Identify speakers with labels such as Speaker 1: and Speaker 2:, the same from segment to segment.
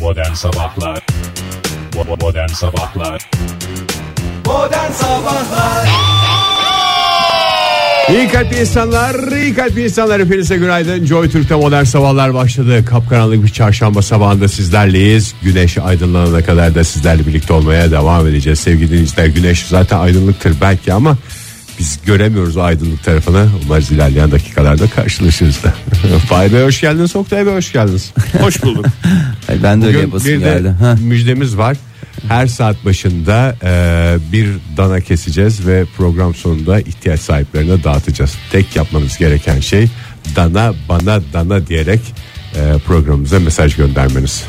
Speaker 1: Modern Sabahlar Bo- Modern Sabahlar
Speaker 2: Modern Sabahlar
Speaker 3: İyi kalpli insanlar, iyi kalpli insanlar hepinize günaydın. Joy Türk'te modern sabahlar başladı. Kapkaranlık bir çarşamba sabahında sizlerleyiz. Güneş aydınlanana kadar da sizlerle birlikte olmaya devam edeceğiz. Sevgili dinleyiciler güneş zaten aydınlıktır belki ama biz göremiyoruz o aydınlık tarafını. Umarız ilerleyen dakikalarda karşılaşırız da. Fahir Bey hoş geldiniz, Oktay Bey hoş geldiniz.
Speaker 4: Hoş bulduk.
Speaker 5: Ay ben de öyle
Speaker 3: Bugün
Speaker 5: yapasım
Speaker 3: bir
Speaker 5: geldi.
Speaker 3: de
Speaker 5: Ha.
Speaker 3: müjdemiz var. Her saat başında e, bir dana keseceğiz ve program sonunda ihtiyaç sahiplerine dağıtacağız. Tek yapmanız gereken şey dana bana dana diyerek e, programımıza mesaj göndermeniz.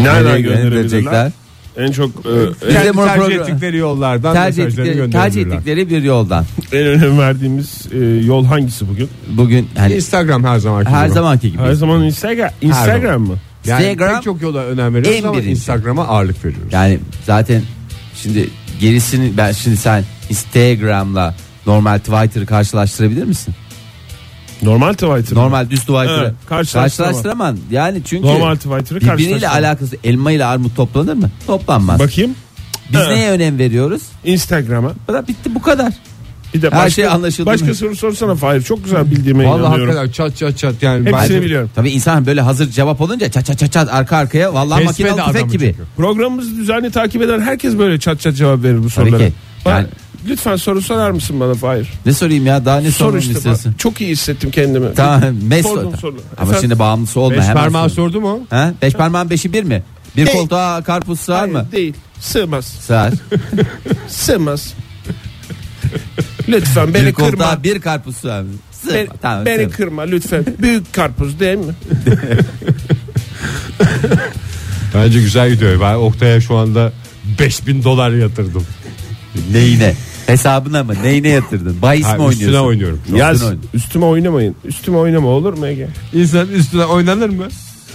Speaker 4: Nereden
Speaker 5: Nereye
Speaker 4: gönderebilirler?
Speaker 5: gönderecekler?
Speaker 4: En çok e,
Speaker 5: de
Speaker 3: Kendi
Speaker 5: bunu
Speaker 3: tercih
Speaker 5: program-
Speaker 3: ettikleri yollardan
Speaker 5: Tercih
Speaker 3: mesajlarını
Speaker 5: ettikleri,
Speaker 3: gönderebilirler.
Speaker 5: tercih ettikleri bir yoldan.
Speaker 4: en önem verdiğimiz e, yol hangisi bugün?
Speaker 5: Bugün hani
Speaker 3: Instagram her zaman.
Speaker 5: her zamanki gibi.
Speaker 4: Her zaman Instagram. Instagram mı?
Speaker 3: yani
Speaker 5: Instagram
Speaker 3: pek çok yola önem veriyoruz
Speaker 5: en
Speaker 3: ama
Speaker 5: birinci.
Speaker 3: Instagram'a ağırlık veriyoruz.
Speaker 5: Yani zaten şimdi gerisini ben şimdi sen Instagram'la normal Twitter'ı karşılaştırabilir misin?
Speaker 4: Normal Twitter. mı?
Speaker 5: Normal düz Twitter'ı
Speaker 4: Evet, karşılaştıramam.
Speaker 5: karşılaştıramam. Yani çünkü
Speaker 4: Normal Twitter'ı
Speaker 5: birbiriyle
Speaker 4: karşılaştıramam.
Speaker 5: alakası elma ile armut toplanır mı? Toplanmaz.
Speaker 4: Bakayım.
Speaker 5: Biz
Speaker 4: Ha.
Speaker 5: neye önem veriyoruz?
Speaker 4: Instagram'a.
Speaker 5: Bu da bitti bu kadar.
Speaker 4: Bir de
Speaker 5: Her
Speaker 4: başka,
Speaker 5: şey anlaşıldı
Speaker 4: Başka
Speaker 5: mı?
Speaker 4: soru sorsana Fahir. Çok güzel bildiğime
Speaker 3: Vallahi
Speaker 4: inanıyorum.
Speaker 3: hakikaten çat çat çat yani.
Speaker 4: Hepsini
Speaker 3: bence-
Speaker 4: biliyorum.
Speaker 5: Tabii insan böyle hazır cevap olunca çat çat çat çat arka arkaya vallahi
Speaker 3: Kesme de
Speaker 5: makinalı tüfek
Speaker 3: adamı
Speaker 5: gibi.
Speaker 3: çünkü.
Speaker 4: Programımızı düzenli takip eden herkes böyle çat çat cevap verir bu
Speaker 5: Tabii
Speaker 4: sorulara.
Speaker 5: ki.
Speaker 4: Bana-
Speaker 5: Yani-
Speaker 4: Lütfen soru sorar mısın bana Fahir?
Speaker 5: Ne sorayım ya daha ne
Speaker 4: Soru
Speaker 5: sormamı
Speaker 4: işte.
Speaker 5: istiyorsun?
Speaker 4: bana. Çok iyi hissettim kendimi.
Speaker 5: Tamam mes
Speaker 4: Sordum
Speaker 5: sor-
Speaker 4: soruları.
Speaker 5: Ama
Speaker 4: Efendim?
Speaker 5: şimdi bağımlısı olma.
Speaker 3: Beş
Speaker 5: hemen
Speaker 3: parmağı
Speaker 5: sor.
Speaker 3: sordu mu?
Speaker 5: Ha? Beş parmağın beşi bir mi? Bir
Speaker 4: Değil.
Speaker 5: koltuğa karpuz sığar
Speaker 4: Hayır,
Speaker 5: mı?
Speaker 4: Değil. Sığmaz.
Speaker 5: Sığar.
Speaker 4: Sığmaz. Lütfen beni
Speaker 5: bir koltuğa
Speaker 4: kırma.
Speaker 5: bir karpuz sığar mı? Sığma.
Speaker 4: Beni,
Speaker 5: tamam,
Speaker 4: beni
Speaker 5: sığma.
Speaker 4: kırma lütfen. Büyük karpuz değil mi?
Speaker 3: Bence güzel gidiyor. Ben Oktay'a şu anda 5000 dolar yatırdım.
Speaker 5: Neyine? Hesabına mı? Neyine yatırdın? Bahis mi
Speaker 3: Ha,
Speaker 5: oynuyorsun?
Speaker 3: üstüne oynuyorum.
Speaker 5: Üstüne
Speaker 4: Yaz
Speaker 5: oynuyorsun.
Speaker 4: üstüme oynamayın. Üstüme oynama olur mu Ege?
Speaker 3: İnsanın üstüne oynanır mı?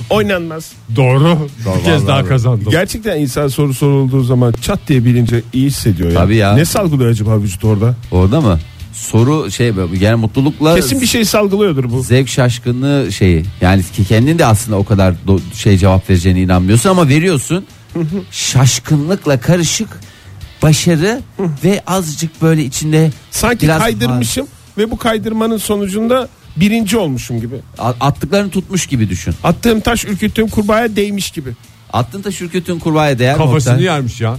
Speaker 4: Oynanmaz.
Speaker 3: Doğru. Bir kez daha kazandım.
Speaker 4: Gerçekten insan soru sorulduğu zaman çat diye bilince iyi hissediyor ya.
Speaker 5: Tabii ya.
Speaker 4: Ne salgılıyor acaba vücut orada?
Speaker 5: Orada mı? Soru şey böyle yani mutlulukla
Speaker 4: Kesin bir şey salgılıyordur bu.
Speaker 5: zevk şaşkınlığı şeyi. Yani ki kendin de aslında o kadar do- şey cevap vereceğine inanmıyorsun ama veriyorsun. Şaşkınlıkla karışık başarı ve azıcık böyle içinde
Speaker 4: Sanki
Speaker 5: biraz-
Speaker 4: kaydırmışım ve bu kaydırmanın sonucunda birinci olmuşum gibi.
Speaker 5: A- attıklarını tutmuş gibi düşün.
Speaker 4: Attığım taş ürküttüğüm kurbağaya değmiş gibi.
Speaker 5: Attın da şirketin kurbağaya değer mi
Speaker 3: Kafasını
Speaker 5: Oktay?
Speaker 3: yarmış ya.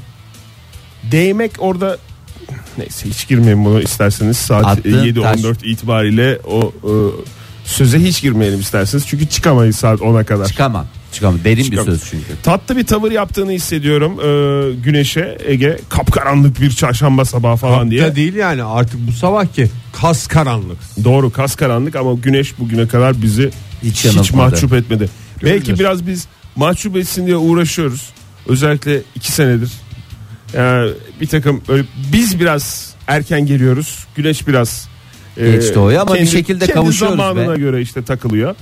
Speaker 4: Değmek orada neyse hiç girmeyin bunu isterseniz saat
Speaker 5: Attığın
Speaker 4: 7.14 itibariyle o e, söze hiç girmeyelim isterseniz çünkü çıkamayız saat 10'a kadar.
Speaker 5: Çıkamam. Çıkamam. Derin
Speaker 4: Çıkamam.
Speaker 5: bir söz çünkü.
Speaker 4: Tatlı bir tavır yaptığını hissediyorum e, güneşe Ege kapkaranlık bir çarşamba sabahı falan diye.
Speaker 3: Da değil yani artık bu sabah ki kas karanlık.
Speaker 4: Doğru kas karanlık ama güneş bugüne kadar bizi hiç,
Speaker 5: Hiç yanıltmadı.
Speaker 4: mahcup etmedi. Belki
Speaker 3: Göreceğiz.
Speaker 4: biraz biz mahcup etsin diye uğraşıyoruz. Özellikle iki senedir. Yani bir takım böyle biz biraz erken geliyoruz. Güneş biraz e,
Speaker 5: Geç doğuyor ama bir şekilde
Speaker 4: kendi
Speaker 5: kavuşuyoruz
Speaker 4: zamanına
Speaker 5: be.
Speaker 4: göre işte takılıyor.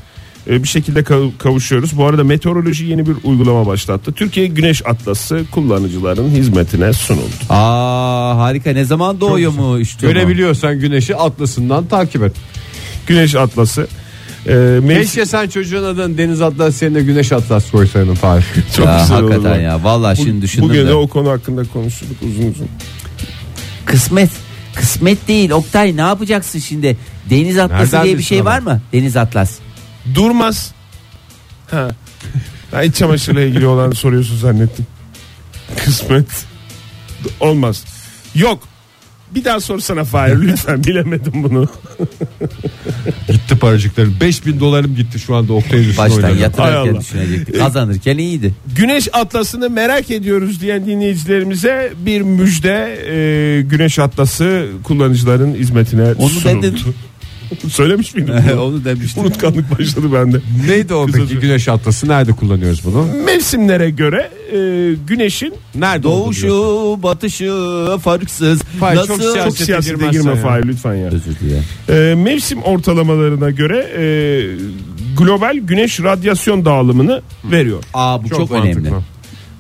Speaker 4: E, bir şekilde kav- kavuşuyoruz. Bu arada meteoroloji yeni bir uygulama başlattı. Türkiye Güneş Atlası kullanıcıların hizmetine sunuldu.
Speaker 5: Aa harika. Ne zaman doğuyor mu işte?
Speaker 3: Görebiliyorsan güneşi atlasından takip et.
Speaker 4: Güneş Atlası e, mevsim-
Speaker 3: Keşke sen çocuğun adını deniz atlas yerine güneş atlas koysaydın Fahir.
Speaker 4: Çok
Speaker 5: ya,
Speaker 4: güzel olur
Speaker 5: hakikaten
Speaker 4: bak.
Speaker 5: ya. Vallahi şimdi düşündüm
Speaker 4: Bugün
Speaker 5: de.
Speaker 4: de o konu hakkında konuştuk uzun uzun.
Speaker 5: Kısmet. Kısmet değil. Oktay ne yapacaksın şimdi? Deniz atlası
Speaker 3: Nereden
Speaker 5: diye bir
Speaker 3: bilsin
Speaker 5: şey
Speaker 3: adam?
Speaker 5: var mı? Deniz atlas.
Speaker 4: Durmaz. Ha. Ben iç çamaşırla ilgili olan soruyorsun zannettim. Kısmet. Olmaz. Yok. Bir daha sorsana Fahir lütfen bilemedim bunu.
Speaker 3: gitti paracıklarım. 5000 dolarım gitti şu anda Oktay'ın üstüne
Speaker 5: Baştan
Speaker 3: oynadım.
Speaker 4: Hay
Speaker 5: yatırırken
Speaker 4: Allah.
Speaker 5: düşünecektik. Kazanırken iyiydi.
Speaker 4: Güneş atlasını merak ediyoruz diyen dinleyicilerimize bir müjde e, Güneş atlası kullanıcıların hizmetine
Speaker 5: Onu
Speaker 4: sunuldu.
Speaker 5: dedim.
Speaker 4: Söylemiş miydim bunu?
Speaker 5: demiştim.
Speaker 4: Unutkanlık başladı bende.
Speaker 3: Neydi o
Speaker 4: Kısaca.
Speaker 3: peki güneş atlası nerede kullanıyoruz bunu?
Speaker 4: Mevsimlere göre e, güneşin
Speaker 3: Nerede
Speaker 5: Doğuşu, batışı, farksız.
Speaker 3: Fahir, çok
Speaker 5: Nasıl?
Speaker 3: siyasi-
Speaker 4: çok
Speaker 3: Siyasete
Speaker 4: siyasete
Speaker 3: girmezsen
Speaker 4: girme
Speaker 3: ya.
Speaker 4: Fahir lütfen ya.
Speaker 5: Özür dilerim.
Speaker 4: Ee, mevsim ortalamalarına göre e, global güneş radyasyon dağılımını veriyor.
Speaker 5: Aa bu çok,
Speaker 3: mantıklı.
Speaker 5: önemli.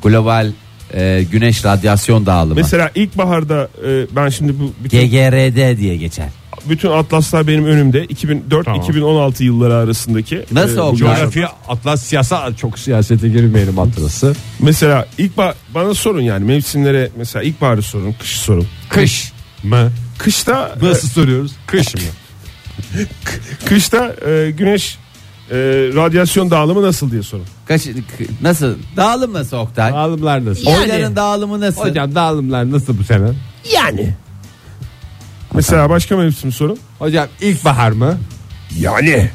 Speaker 5: Global e, güneş radyasyon dağılımı.
Speaker 4: Mesela ilkbaharda e, ben şimdi bu bütün
Speaker 5: GGRD diye geçer.
Speaker 4: bütün atlaslar benim önümde. 2004-2016 yılları arasındaki.
Speaker 5: Nasıl
Speaker 4: bu
Speaker 5: oldu?
Speaker 4: coğrafya-
Speaker 3: Coğrafya, atlas, siyasa çok siyasete girmeyelim atlası.
Speaker 4: Mesela ilk bana sorun yani mevsimlere mesela ilkbaharı sorun, kışı sorun.
Speaker 3: Kış mı?
Speaker 4: Kışta e,
Speaker 3: Nasıl soruyoruz? Kış mı?
Speaker 4: kışta e, güneş e, radyasyon dağılımı nasıl diye sorun.
Speaker 5: Kaç, k- nasıl? Dağılım nasıl Oktay?
Speaker 3: Dağılımlar nasıl?
Speaker 5: Oyların dağılımı nasıl?
Speaker 3: Hocam dağılımlar nasıl bu sene?
Speaker 4: Yani. Mesela başka mevsim sorun.
Speaker 3: Hocam ilkbahar mı?
Speaker 4: Yani.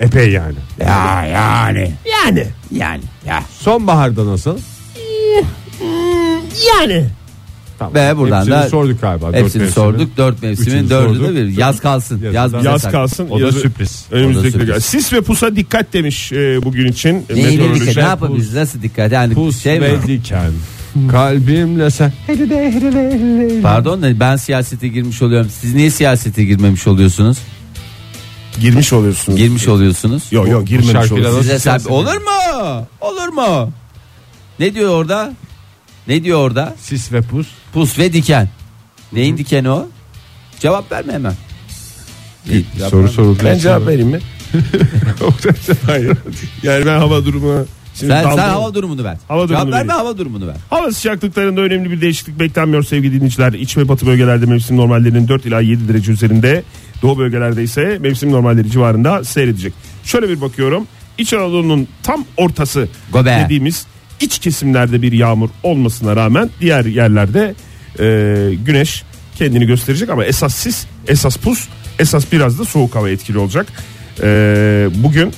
Speaker 3: Epey yani.
Speaker 5: Ya yani.
Speaker 4: Yani.
Speaker 5: Yani. Ya.
Speaker 3: Sonbaharda nasıl? Hmm,
Speaker 4: Yani.
Speaker 3: Tamam.
Speaker 5: Ve buradan
Speaker 3: Hepsini
Speaker 5: da
Speaker 3: sorduk galiba. dört
Speaker 5: hepsini
Speaker 3: mevsimi.
Speaker 5: sorduk. Dört mevsimin
Speaker 3: Üçünü
Speaker 5: dördü de
Speaker 3: sorduk.
Speaker 5: bir. Yaz kalsın. Yaz,
Speaker 3: Yaz
Speaker 5: bize
Speaker 4: Yaz
Speaker 5: saklı.
Speaker 4: kalsın.
Speaker 3: O da
Speaker 4: yazı-
Speaker 3: sürpriz.
Speaker 5: O da
Speaker 4: Önümüzdeki
Speaker 5: sürpriz.
Speaker 4: de- Sis ve pusa dikkat demiş e, bugün için. e,
Speaker 5: Neyini
Speaker 4: meteoroloji.
Speaker 5: dikkat- ne yapabiliriz? Nasıl dikkat? Yani
Speaker 3: Şey Pus
Speaker 5: şey mi?
Speaker 3: ve diken. Kalbimle sen.
Speaker 5: Pardon da ben siyasete girmiş oluyorum. Siz niye siyasete girmemiş oluyorsunuz?
Speaker 4: Girmiş oluyorsunuz.
Speaker 5: Girmiş oluyorsunuz.
Speaker 4: Yok yok girmemiş
Speaker 3: şarkıyla
Speaker 4: oluyorsunuz.
Speaker 5: Size
Speaker 3: Nasıl
Speaker 5: sen-
Speaker 3: siyaset-
Speaker 5: olur mu? Olur mu? Ne diyor orada? Ne diyor orada?
Speaker 3: Sis ve pus.
Speaker 5: Pus ve diken. Neyin dikeni o? Cevap verme hemen.
Speaker 3: Soru soruldu.
Speaker 4: Ben cevap vereyim mi? Hayır. Yani ben hava durumu... Şimdi
Speaker 5: Sen, sen
Speaker 4: dalga-
Speaker 5: hava durumunu ver.
Speaker 4: Hava
Speaker 5: Cevap
Speaker 4: durumunu
Speaker 5: verme
Speaker 4: vereyim.
Speaker 5: hava durumunu ver.
Speaker 4: Hava sıcaklıklarında önemli bir değişiklik beklenmiyor sevgili dinleyiciler. İç ve batı bölgelerde mevsim normallerinin 4 ila 7 derece üzerinde. Doğu bölgelerde ise mevsim normalleri civarında seyredecek. Şöyle bir bakıyorum. İç Anadolu'nun tam ortası
Speaker 5: Gobe.
Speaker 4: dediğimiz iç kesimlerde bir yağmur olmasına rağmen diğer yerlerde e, güneş kendini gösterecek ama esas sis, esas pus, esas biraz da soğuk hava etkili olacak. E, bugün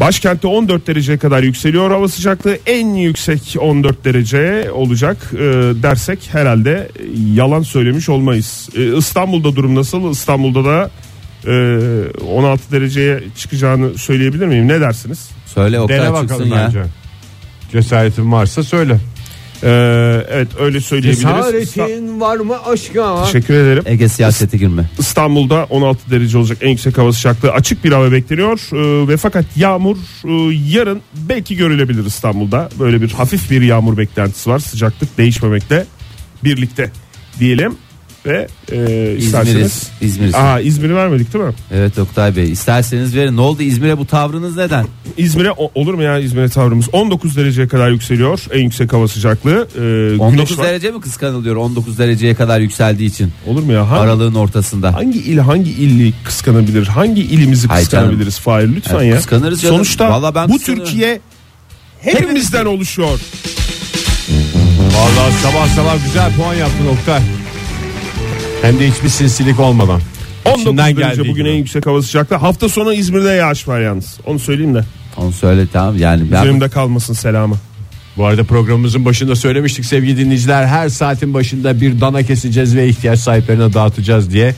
Speaker 4: Başkentte 14 dereceye kadar yükseliyor hava sıcaklığı. En yüksek 14 derece olacak e, dersek herhalde e, yalan söylemiş olmayız. E, İstanbul'da durum nasıl? İstanbul'da da e, 16 dereceye çıkacağını söyleyebilir miyim? Ne dersiniz?
Speaker 5: Söyle o
Speaker 3: Dene
Speaker 5: kadar çıksın
Speaker 3: bakalım
Speaker 5: ya.
Speaker 3: bence. Cesaretin varsa söyle.
Speaker 4: E, evet öyle söyleyebiliriz. İsta-
Speaker 3: var mı aşka?
Speaker 4: Teşekkür ederim.
Speaker 5: Ege siyasete girme.
Speaker 4: İstanbul'da 16 derece olacak en yüksek hava sıcaklığı. Açık bir hava bekleniyor Ee, ve fakat yağmur e, yarın belki görülebilir İstanbul'da. Böyle bir hafif bir yağmur beklentisi var. Sıcaklık değişmemekle birlikte diyelim ve e,
Speaker 5: İzmir'iz.
Speaker 4: isterseniz
Speaker 5: İzmir'iz.
Speaker 4: Aha İzmir'i vermedik değil mi?
Speaker 5: Evet Oktay Bey isterseniz verin. Ne oldu İzmir'e bu tavrınız neden?
Speaker 4: İzmir'e o- olur mu ya İzmir'e tavrımız 19 dereceye kadar yükseliyor en yüksek hava sıcaklığı. Ee, güneş
Speaker 5: 19
Speaker 4: var.
Speaker 5: derece mi kıskanılıyor 19 dereceye kadar yükseldiği için?
Speaker 4: olur mu ya? Hangi,
Speaker 5: Aralığın ortasında.
Speaker 4: hangi il hangi illi kıskanabilir? Hangi ilimizi
Speaker 5: Hayır canım.
Speaker 4: kıskanabiliriz Fahir lütfen
Speaker 5: Evet,
Speaker 4: ya.
Speaker 5: kıskanırız canım.
Speaker 4: Sonuçta
Speaker 5: Vallahi ben
Speaker 4: bu
Speaker 5: kıskanıyorum.
Speaker 4: Türkiye hepimizden oluşuyor.
Speaker 3: Vallahi sabah sabah güzel puan yaptın Oktay. Hem de hiçbir sinsilik olmadan.
Speaker 4: 19
Speaker 3: İçinden
Speaker 4: derece
Speaker 3: geldiği
Speaker 4: bugün
Speaker 3: gibi.
Speaker 4: en yüksek hava sıcaklığı. Hafta sonu İzmir'de yağış var yalnız. Onu söyleyeyim de.
Speaker 5: Onu söyle tamam yani ben
Speaker 4: Üzerimde kalmasın selamı.
Speaker 3: Bu arada programımızın başında söylemiştik sevgili dinleyiciler her saatin başında bir dana keseceğiz ve ihtiyaç sahiplerine dağıtacağız diye.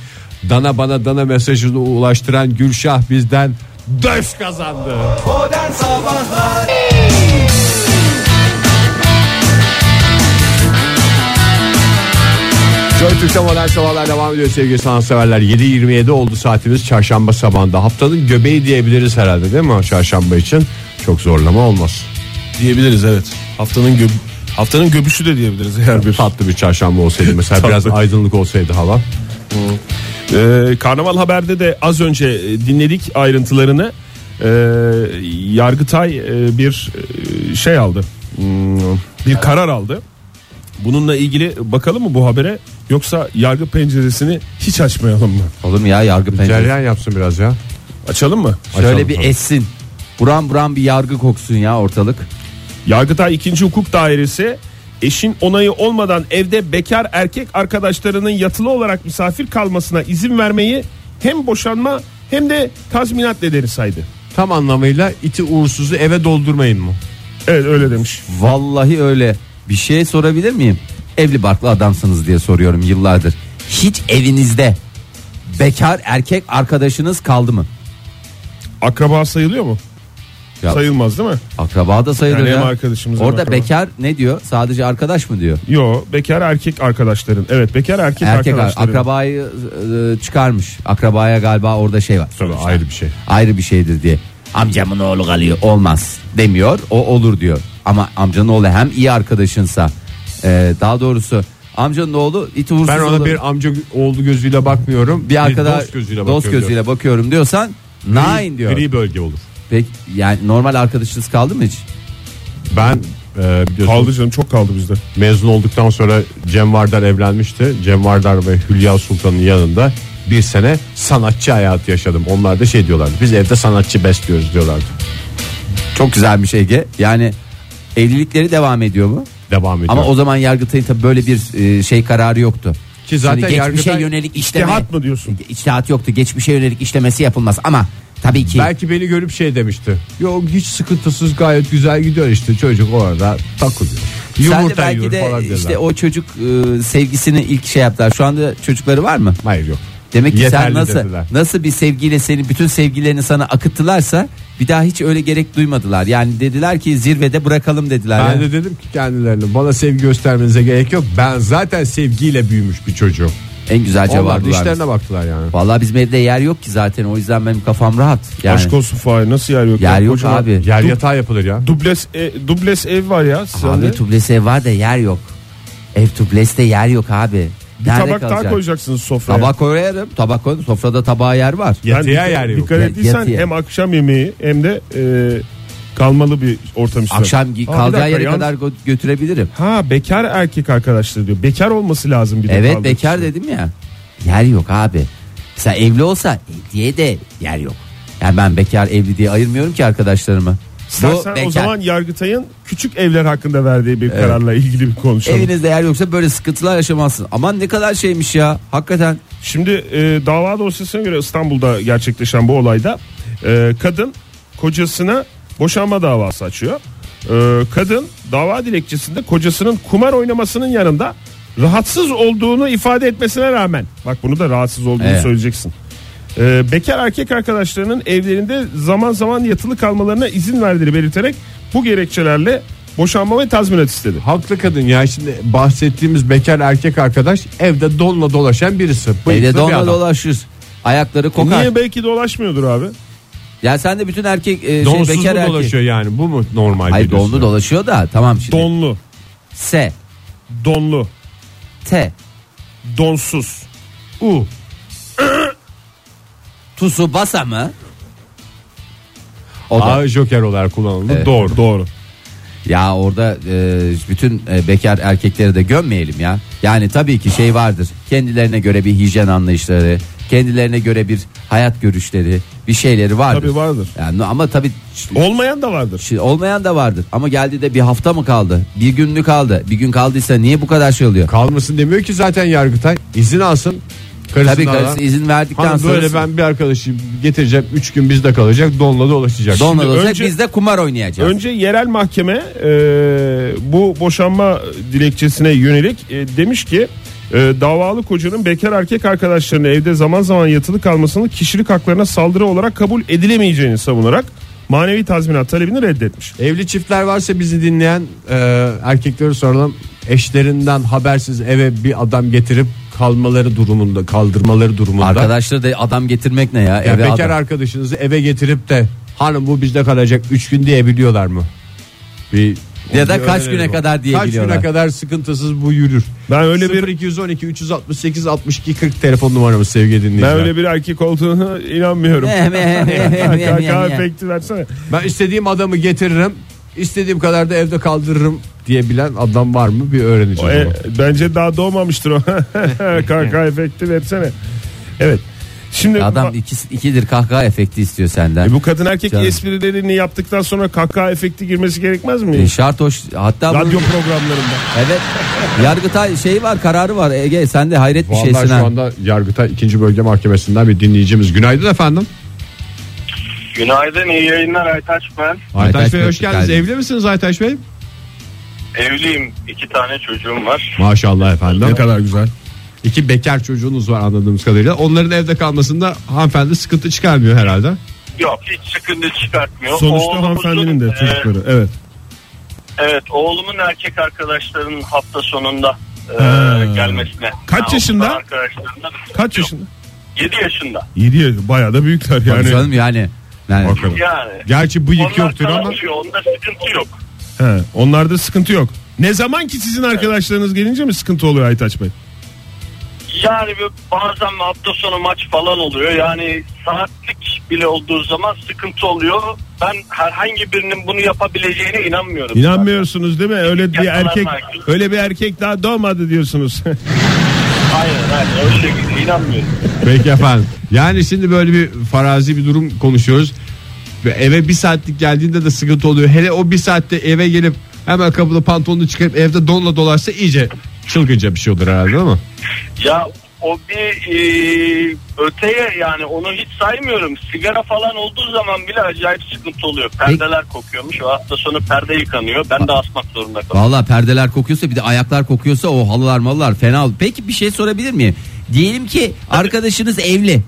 Speaker 3: Dana bana dana mesajını ulaştıran Gülşah bizden döş kazandı.
Speaker 2: Modern Sabahlar
Speaker 3: Joy Türk'te modern sabahlar devam ediyor sevgili sanatseverler. 7.27 oldu saatimiz çarşamba sabahında. Haftanın göbeği diyebiliriz herhalde değil mi çarşamba için? Çok zorlama olmaz.
Speaker 6: diyebiliriz evet. Haftanın göb haftanın göbüşü de diyebiliriz eğer bir.
Speaker 3: Tatlı bir çarşamba olsaydı mesela
Speaker 4: Tatlı.
Speaker 3: biraz aydınlık olsaydı hava.
Speaker 4: Ee, Karnaval Haber'de de az önce e, dinledik ayrıntılarını. Ee, Yargıtay e, bir e, şey aldı. Hmm, Bir karar aldı. Bununla ilgili bakalım mı bu habere yoksa yargı penceresini hiç açmayalım mı?
Speaker 5: olur mu ya yargı penceresi.
Speaker 3: Ceryan yapsın biraz ya.
Speaker 4: Açalım mı?
Speaker 5: Şöyle
Speaker 3: Açalım,
Speaker 5: bir
Speaker 3: tamam.
Speaker 5: essin. Buram buram bir yargı koksun ya ortalık.
Speaker 4: Yargıtay 2. Hukuk Dairesi eşin onayı olmadan evde bekar erkek arkadaşlarının yatılı olarak misafir kalmasına izin vermeyi hem boşanma hem de tazminat nedeni saydı.
Speaker 3: Tam anlamıyla iti uğursuzu eve doldurmayın mı?
Speaker 4: Evet öyle demiş.
Speaker 5: Vallahi öyle. Bir şey sorabilir miyim? Evli barklı adamsınız diye soruyorum yıllardır. Hiç evinizde bekar erkek arkadaşınız kaldı mı?
Speaker 4: Akraba sayılıyor mu?
Speaker 5: Ya-
Speaker 4: Sayılmaz değil mi?
Speaker 5: Akraba da sayılır
Speaker 4: Yani hem
Speaker 5: ya.
Speaker 4: arkadaşımız hem
Speaker 5: Orada
Speaker 4: akraba.
Speaker 5: bekar ne diyor? Sadece arkadaş mı diyor?
Speaker 4: Yo bekar erkek arkadaşların. Evet bekar erkek,
Speaker 5: Erkek ar-
Speaker 4: arkadaşların.
Speaker 5: akrabayı e, çıkarmış. Akrabaya galiba orada şey var.
Speaker 3: Tabii ayrı bir şey.
Speaker 5: Ayrı bir şeydir diye. Amcamın oğlu kalıyor. Olmaz demiyor. O olur diyor. Ama amcanın oğlu hem iyi arkadaşınsa e, daha doğrusu Amcanın oğlu iti vursuz
Speaker 3: Ben ona
Speaker 5: olur.
Speaker 3: bir amca oğlu gözüyle bakmıyorum.
Speaker 5: bir arkada
Speaker 3: dost gözüyle bakıyorum.
Speaker 5: dost
Speaker 3: diyor.
Speaker 5: gözüyle bakıyorum diyorsan nine diyor.
Speaker 3: Gri bölge olur.
Speaker 5: Peki yani normal arkadaşınız kaldı mı hiç?
Speaker 3: Ben e, biliyorsun
Speaker 4: Kaldı canım çok kaldı bizde.
Speaker 3: mezun olduktan sonra Cem Vardar evlenmişti. Cem Vardar ve Hülya Sultan'ın yanında bir sene sanatçı hayatı yaşadım. Onlar da şey diyorlardı. Biz evde sanatçı besliyoruz diyorlardı.
Speaker 5: Çok güzel bir şey Ege. Yani evlilikleri devam ediyor mu?
Speaker 3: Devam ediyor.
Speaker 5: Ama o zaman Yargıtay'ın tabii böyle bir e, şey kararı yoktu.
Speaker 3: Ki zaten
Speaker 5: Şimdi geçmişe
Speaker 3: Yargıtay
Speaker 5: yönelik işleme
Speaker 4: İhtihat mı diyorsun?
Speaker 5: İçtihat yoktu. Geçmişe yönelik işlemesi yapılmaz ama tabii ki
Speaker 3: Belki beni görüp şey demişti. Yok hiç sıkıntısız gayet güzel gidiyor işte çocuk orada takılıyor.
Speaker 5: sen de
Speaker 3: Yumurta
Speaker 5: belki
Speaker 3: yiyor
Speaker 5: de
Speaker 3: falan diyorlar.
Speaker 5: işte o çocuk e, sevgisini ilk şey yaptılar. Şu anda çocukları var mı?
Speaker 3: Hayır yok.
Speaker 5: Demek ki sen
Speaker 3: Yeterli
Speaker 5: nasıl
Speaker 3: dediler.
Speaker 5: nasıl bir sevgiyle seni bütün sevgilerini sana akıttılarsa bir daha hiç öyle gerek duymadılar. Yani dediler ki zirvede bırakalım dediler.
Speaker 3: Ben
Speaker 5: ya.
Speaker 3: de dedim ki kendilerine bana sevgi göstermenize gerek yok. Ben zaten sevgiyle büyümüş bir çocuğum.
Speaker 5: En güzel
Speaker 3: Onlar da
Speaker 5: cevabı vermiş.
Speaker 3: işlerine baktılar yani.
Speaker 5: Vallahi bizim evde yer yok ki zaten o yüzden benim kafam rahat. Yani
Speaker 4: Aşk olsun Fahir nasıl yer yok?
Speaker 5: yer
Speaker 4: ya?
Speaker 5: yok
Speaker 4: Kocaman
Speaker 5: abi.
Speaker 3: Yer yatağı yapılır ya.
Speaker 4: Dubles, e, dubles ev var ya.
Speaker 5: Abi
Speaker 4: Sende.
Speaker 5: tublesi ev var da yer yok. Ev tubleste yer yok abi.
Speaker 4: Bir
Speaker 5: Nerede
Speaker 4: tabak daha
Speaker 5: kalacak?
Speaker 4: koyacaksınız sofraya.
Speaker 5: Tabak koyarım. Tabak koyarım. Sofrada tabağa yer var.
Speaker 4: Yani
Speaker 3: Yatıya
Speaker 4: dikkat-
Speaker 3: yer yok.
Speaker 4: Dikkat
Speaker 5: Ya-
Speaker 4: ettiysen
Speaker 5: yatıya.
Speaker 4: hem akşam yemeği hem de e, kalmalı bir ortam istiyorum.
Speaker 5: Akşam gi-
Speaker 4: Aa, bir
Speaker 5: kalacağı
Speaker 4: dakika,
Speaker 5: yere
Speaker 4: yalnız-
Speaker 5: kadar gö- götürebilirim.
Speaker 4: Ha bekar erkek arkadaşları diyor. Bekar olması lazım bir de.
Speaker 5: evet
Speaker 4: kaldığı
Speaker 5: bekar
Speaker 4: kişi.
Speaker 5: dedim ya. Yer yok abi. Mesela evli olsa diye de yer yok. Yani ben bekar evli diye ayırmıyorum ki arkadaşlarımı.
Speaker 4: İstersen o zaman Yargıtay'ın küçük evler hakkında verdiği bir kararla ilgili bir konuşalım.
Speaker 5: Evinizde yer yoksa böyle sıkıntılar yaşamazsın. Aman ne kadar şeymiş ya. Hakikaten
Speaker 4: Şimdi e, dava dosyasına göre İstanbul'da gerçekleşen bu olayda e, kadın kocasına boşanma davası açıyor. E, kadın dava dilekçesinde kocasının kumar oynamasının yanında rahatsız olduğunu ifade etmesine rağmen bak bunu da rahatsız olduğunu
Speaker 5: Evet.
Speaker 4: söyleyeceksin. E, bekar erkek arkadaşlarının evlerinde zaman zaman yatılı kalmalarına izin verdiğini belirterek bu gerekçelerle boşanma ve tazminat istedi.
Speaker 3: Haklı kadın ya şimdi bahsettiğimiz bekar erkek arkadaş evde donla dolaşan birisi. Bıyıklı
Speaker 5: evde
Speaker 3: bir
Speaker 5: donla
Speaker 3: adam.
Speaker 5: dolaşır. Ayakları kokar.
Speaker 4: Niye belki dolaşmıyordur abi?
Speaker 5: Ya sen de bütün erkek e, şey,
Speaker 3: Donsuz
Speaker 5: bekar
Speaker 3: mu
Speaker 5: erkek.
Speaker 3: dolaşıyor yani bu mu normal?
Speaker 5: Hayır
Speaker 3: geliyorsun?
Speaker 5: donlu dolaşıyor da tamam şimdi.
Speaker 4: Donlu,
Speaker 5: S,
Speaker 4: donlu,
Speaker 5: T,
Speaker 4: donsuz.
Speaker 3: U.
Speaker 5: Tusu basa mı? O da.
Speaker 3: A joker olarak kullanıldı.
Speaker 5: Evet.
Speaker 3: Doğru. Doğru.
Speaker 5: Ya orada e, bütün e, bekar erkekleri de gömmeyelim ya. Yani tabii ki şey vardır. Kendilerine göre bir hijyen anlayışları, kendilerine göre bir hayat görüşleri, bir şeyleri vardır.
Speaker 4: Tabii vardır.
Speaker 5: Yani ama tabii ş-
Speaker 4: Olmayan da vardır.
Speaker 5: ş- olmayan da vardır. Ama geldi de bir hafta mı kaldı? Bir gün mü kaldı? Bir gün kaldıysa niye bu kadar şey oluyor?
Speaker 3: Kalmasın demiyor ki zaten Yargıtay. İzin alsın. Karısından
Speaker 5: Tabii karısı izin verdikten
Speaker 3: Hanım
Speaker 5: sonra
Speaker 3: böyle ben bir arkadaşı getireceğim 3 gün bizde kalacak donla dolaşacak.
Speaker 5: donla
Speaker 4: Şimdi
Speaker 5: dolaşacak,
Speaker 4: önce-
Speaker 5: biz de kumar oynayacağız.
Speaker 4: Önce yerel mahkeme e, bu boşanma dilekçesine yönelik e, demiş ki e, davalı kocanın bekar erkek arkadaşlarının evde zaman zaman yatılı kalmasını kişilik haklarına saldırı olarak kabul edilemeyeceğini savunarak manevi tazminat talebini reddetmiş.
Speaker 3: Evli çiftler varsa bizi dinleyen e, erkeklere soralım. Eşlerinden habersiz eve bir adam getirip kalmaları durumunda kaldırmaları durumunda.
Speaker 5: Arkadaşları da adam getirmek ne ya?
Speaker 3: Ya
Speaker 5: Eve
Speaker 3: bekar
Speaker 5: adam.
Speaker 3: arkadaşınızı eve getirip de hanım bu bizde kalacak 3 gün diyebiliyorlar mı? Bir
Speaker 5: Ya da
Speaker 3: onu bir
Speaker 5: kaç
Speaker 3: öğrenelim.
Speaker 5: güne kadar
Speaker 3: Kaç
Speaker 5: diyebiliyorlar?
Speaker 3: güne kadar sıkıntısız bu yürür.
Speaker 4: Ben öyle bir
Speaker 3: 0212 368 62 40 telefon numaramız sevgili
Speaker 4: ben
Speaker 3: dinleyiciler. Ben,
Speaker 4: öyle bir erkek olduğunu inanmıyorum.
Speaker 5: Eh,
Speaker 4: Kahkaha efekti versene.
Speaker 3: istediğim adamı getiririm. istediğim kadar da evde kaldırırım diyebilen adam var mı bir
Speaker 4: O,
Speaker 3: öğreneceğim.
Speaker 4: e,
Speaker 3: onu.
Speaker 4: bence daha doğmamıştır o. Kahkaha efekti versene. Evet. Şimdi
Speaker 5: Adam ikisi, ikidir kahkaha efekti istiyor senden.
Speaker 4: E bu kadın erkek
Speaker 5: Canım.
Speaker 4: esprilerini yaptıktan sonra kahkaha efekti girmesi gerekmez mi?
Speaker 5: E, şart hoş hatta bu-
Speaker 4: Radyo programlarında.
Speaker 5: evet Yargıtay şey var kararı var Ege sen de hayret bir şey
Speaker 3: Vallahi
Speaker 5: şeysin
Speaker 3: şu
Speaker 5: ha.
Speaker 3: anda Yargıtay 2. Bölge Mahkemesi'nden bir dinleyicimiz. Günaydın efendim.
Speaker 7: Günaydın, iyi yayınlar Aytaç ben.
Speaker 5: Aytaç
Speaker 3: Aytaş Bey
Speaker 5: Bey,
Speaker 3: hoş geldiniz.
Speaker 5: geldiniz.
Speaker 3: Evli misiniz Aytaş Bey?
Speaker 7: Evliyim, iki tane çocuğum var.
Speaker 3: Maşallah efendim.
Speaker 6: Ne kadar güzel.
Speaker 3: İki bekar çocuğunuz var anladığımız kadarıyla. Onların evde kalmasında hanımefendi sıkıntı çıkarmıyor herhalde.
Speaker 7: Yok, hiç sıkıntı çıkartmıyor.
Speaker 4: Sonuçta
Speaker 7: Oğlumuzun,
Speaker 4: hanımefendinin de
Speaker 7: e,
Speaker 4: çocukları. Evet.
Speaker 7: Ee, evet, oğlumun erkek arkadaşlarının hafta sonunda e, gelmesine.
Speaker 4: Kaç
Speaker 7: hafta
Speaker 4: yaşında?
Speaker 7: Arkadaşlarından.
Speaker 4: Kaç yaşında?
Speaker 7: 7 yaşında.
Speaker 4: 7 yaşında. Bayağı da büyükler
Speaker 5: Tabii
Speaker 4: yani.
Speaker 5: canım yani. yani
Speaker 4: Bakalım.
Speaker 7: Yani.
Speaker 3: Gerçi bıyık
Speaker 7: Onlar
Speaker 3: yoktur ama
Speaker 7: kalkıyor, Onda sıkıntı yok.
Speaker 4: He, onlarda sıkıntı yok. Ne zaman ki sizin arkadaşlarınız gelince mi sıkıntı oluyor Aytaç Bey?
Speaker 7: Yani bir- bazen hafta sonu maç falan oluyor. Yani saatlik bile olduğu zaman sıkıntı oluyor. Ben herhangi birinin bunu yapabileceğine inanmıyorum.
Speaker 4: İnanmıyorsunuz değil mi? Öyle bir
Speaker 7: Yasalar
Speaker 4: erkek
Speaker 7: var.
Speaker 4: öyle bir erkek daha doğmadı diyorsunuz.
Speaker 7: Aynen aynen o şekilde inanmıyorum.
Speaker 3: Peki efendim. Yani şimdi böyle bir farazi bir durum konuşuyoruz. Ve eve bir saatlik geldiğinde de sıkıntı oluyor. Hele o bir saatte eve gelip hemen kapıda pantolonunu çıkarıp evde donla dolarsa iyice çılgınca bir şey olur herhalde değil mi?
Speaker 7: Ya o bir e, öteye yani onu hiç saymıyorum. Sigara falan olduğu zaman bile acayip sıkıntı oluyor. Perdeler kokuyormuş. O hafta sonu perde yıkanıyor. Ben de asmak zorunda kalıyorum.
Speaker 5: Valla perdeler kokuyorsa bir de ayaklar kokuyorsa o halılar mallar fena. Peki bir şey sorabilir miyim? Diyelim ki arkadaşınız evli.